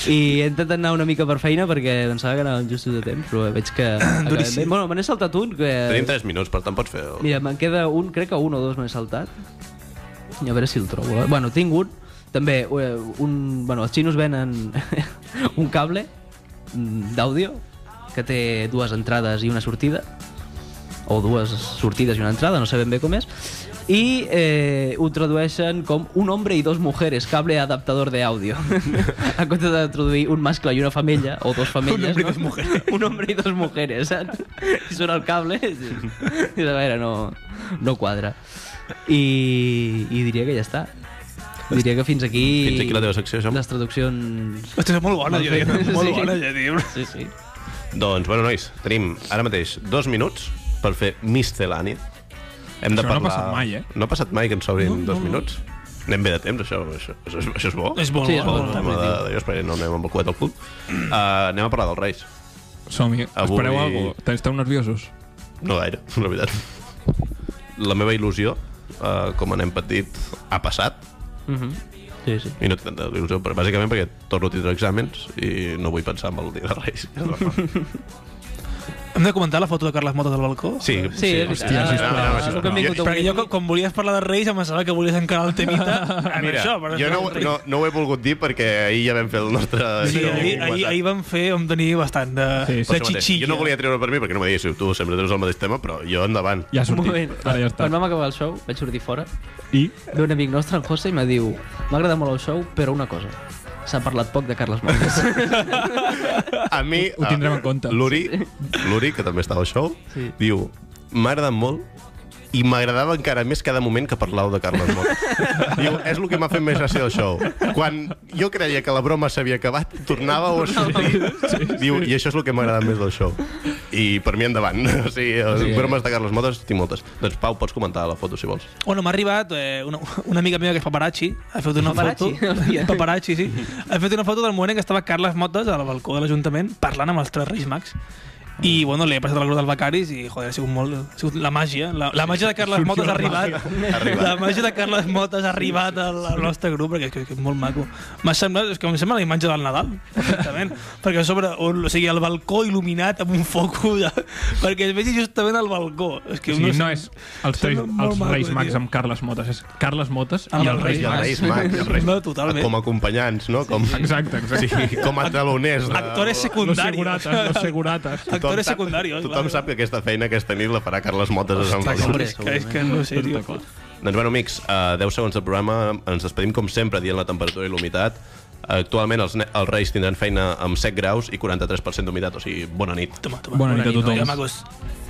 Speaker 3: I he intentat anar una mica per feina perquè pensava que anàvem justos de temps, però veig que... acabem
Speaker 4: Durícies.
Speaker 3: bé. Bueno, me n'he saltat un que...
Speaker 1: Tenim 3 minuts, per tant pots fer... El...
Speaker 3: Mira, me'n queda un, crec que un o dos me n'he saltat. I a veure si el trobo. eh? Bueno, tinc un, també, eh, un... Bueno, els xinos venen un cable mm, d'àudio que té dues entrades i una sortida o dues sortides i una entrada, no sé ben bé com és, i eh, ho tradueixen com un hombre i dos mujeres, cable adaptador de àudio. en comptes de traduir un mascle i una femella, o dos femelles, un hombre, no? i, dos mujeres. un hombre i dos mujeres, saps? I surt el cable, i, i a veure, no, no quadra. I, I diria que ja està. Diria que fins aquí...
Speaker 1: Fins aquí la teva secció, Jaume.
Speaker 3: Les traduccions...
Speaker 4: Hòstia, és molt bona,
Speaker 3: Molt
Speaker 4: jo
Speaker 3: bé.
Speaker 4: dic.
Speaker 3: Sí.
Speaker 4: Molt bona, jo dic.
Speaker 3: Sí, sí.
Speaker 1: Doncs, bueno, nois, tenim ara mateix dos minuts per fer miscel·lània. Hem de
Speaker 2: Això no ha
Speaker 1: parlar...
Speaker 2: passat mai, eh?
Speaker 1: No ha passat mai que ens obrin dos minuts. Anem bé de temps, això, això, això, és- això és bo.
Speaker 4: És molt
Speaker 3: Sí, és
Speaker 1: Bon,
Speaker 4: bona.
Speaker 1: home,
Speaker 3: molt
Speaker 1: de, jo esperaré, no anem amb el coet al cul. Uh, anem a parlar dels Reis.
Speaker 2: Som-hi.
Speaker 1: Avui-
Speaker 2: Espereu alguna cosa. Esteu nerviosos?
Speaker 1: No gaire, la veritat. La meva il·lusió, uh, com anem petit, ha passat.
Speaker 3: Mm -hmm. Sí, sí.
Speaker 1: I no tinc tanta il·lusió, però bàsicament perquè torno a tindre exàmens i no vull pensar en el dia de Reis.
Speaker 4: Hem de comentar la foto de Carles Motes al balcó?
Speaker 1: Sí,
Speaker 3: Sí, és veritat.
Speaker 2: hòstia,
Speaker 3: Ah,
Speaker 2: sisplau.
Speaker 3: ah, és el que hem vingut
Speaker 1: Jo-
Speaker 3: avui.
Speaker 4: Perquè jo, quan- quan volies parlar de Reis, em pensava que volies encarar el temita en
Speaker 1: Ah, Mira,
Speaker 4: això. però
Speaker 1: jo no,
Speaker 4: és Reis.
Speaker 1: no, eh, no ho he volgut dir perquè ahir ja vam fer el nostre...
Speaker 4: Sí,
Speaker 1: show
Speaker 4: ahir, ahir,
Speaker 1: comentat.
Speaker 4: ahir vam fer, vam tenir bastant de,
Speaker 2: Sí, sí.
Speaker 4: sí, sí. de
Speaker 1: Això mateix.
Speaker 4: xixilla.
Speaker 1: Jo no volia treure per mi perquè no m'ho diguéssiu, tu sempre treus el mateix tema, però jo endavant.
Speaker 2: Ja ha
Speaker 3: Un
Speaker 2: sortit.
Speaker 3: moment,
Speaker 2: Ara ja està.
Speaker 3: quan vam acabar el show, vaig sortir fora
Speaker 2: I?
Speaker 3: d'un amic nostre, el José, i me diu m'ha agradat molt el show, però una cosa, s'ha parlat poc de Carles Montes.
Speaker 1: A mi...
Speaker 2: Ho tindrem en compte.
Speaker 1: L'Uri, l'Uri, que també estava al show,
Speaker 3: Sí.
Speaker 1: diu, m'ha agradat molt i m'agradava encara més cada moment que parlau de Carles Mot. Diu, és el que m'ha fet més gràcia del show. Quan jo creia que la broma s'havia acabat, tornava a sortir. Diu, i això és el que m'ha agradat més del show. I per mi endavant. O sigui,
Speaker 3: Sí.
Speaker 1: sí, bromes de Carles Motes tinc moltes. Doncs Pau, pots comentar la foto, si vols.
Speaker 4: Bueno, m'ha arribat eh, una, una amiga meva que és paparazzi, ha fet una
Speaker 3: Paparazzi? Hòstia.
Speaker 4: foto... paparazzi, sí. Ha fet una foto del moment en què estava Carles Motes al balcó de l'Ajuntament parlant amb els tres Reis Mags. I, bueno, l'he passat al grup dels becaris i, joder, ha sigut molt... Ha sigut la màgia. La, la màgia de Carles Motes ha arribat.
Speaker 1: Arribat.
Speaker 4: La màgia de Carles Motes ha arribat al, al nostre grup, perquè és, que, que és molt maco. M'ha semblat... És que em sembla la imatge del Nadal, perfectament. perquè a sobre, on, o sigui, el balcó il·luminat amb un foco, de, perquè es vegi justament al balcó. És que
Speaker 2: O sigui,
Speaker 4: sé-
Speaker 2: no és els,
Speaker 4: sembla
Speaker 2: reis,
Speaker 4: molt
Speaker 2: els
Speaker 4: maco,
Speaker 2: Reis Mags
Speaker 4: tio. Ah,
Speaker 2: amb Carles Motes, és Carles Motes
Speaker 4: Amb
Speaker 2: i
Speaker 4: els
Speaker 2: els Reis
Speaker 1: I els
Speaker 2: Mags.
Speaker 1: Reis Mags. els Reis-
Speaker 4: No, totalment.
Speaker 1: Com acompanyants, no? Com,
Speaker 2: Exacte, exacte.
Speaker 1: sí, com a taloners. de-
Speaker 4: Actores
Speaker 2: Los
Speaker 4: secundarios.
Speaker 2: segurates, los segurates.
Speaker 1: Tothom
Speaker 4: Actores
Speaker 1: sap-
Speaker 4: secundarios.
Speaker 1: Tothom
Speaker 4: vale.
Speaker 1: sap que aquesta feina aquesta nit la farà Carles Motes a Sant Feliu.
Speaker 4: És que, és que no sé, tio.
Speaker 1: Doncs bueno, amics, a 10 segons del programa ens despedim com sempre dient la temperatura i l'humitat. Actualment els, ne- els Reis tindran feina amb 7 graus i 43% d'humitat, o sigui, bona nit.
Speaker 4: Toma, toma.
Speaker 2: Bona nit a tothom.
Speaker 4: Ja, macos.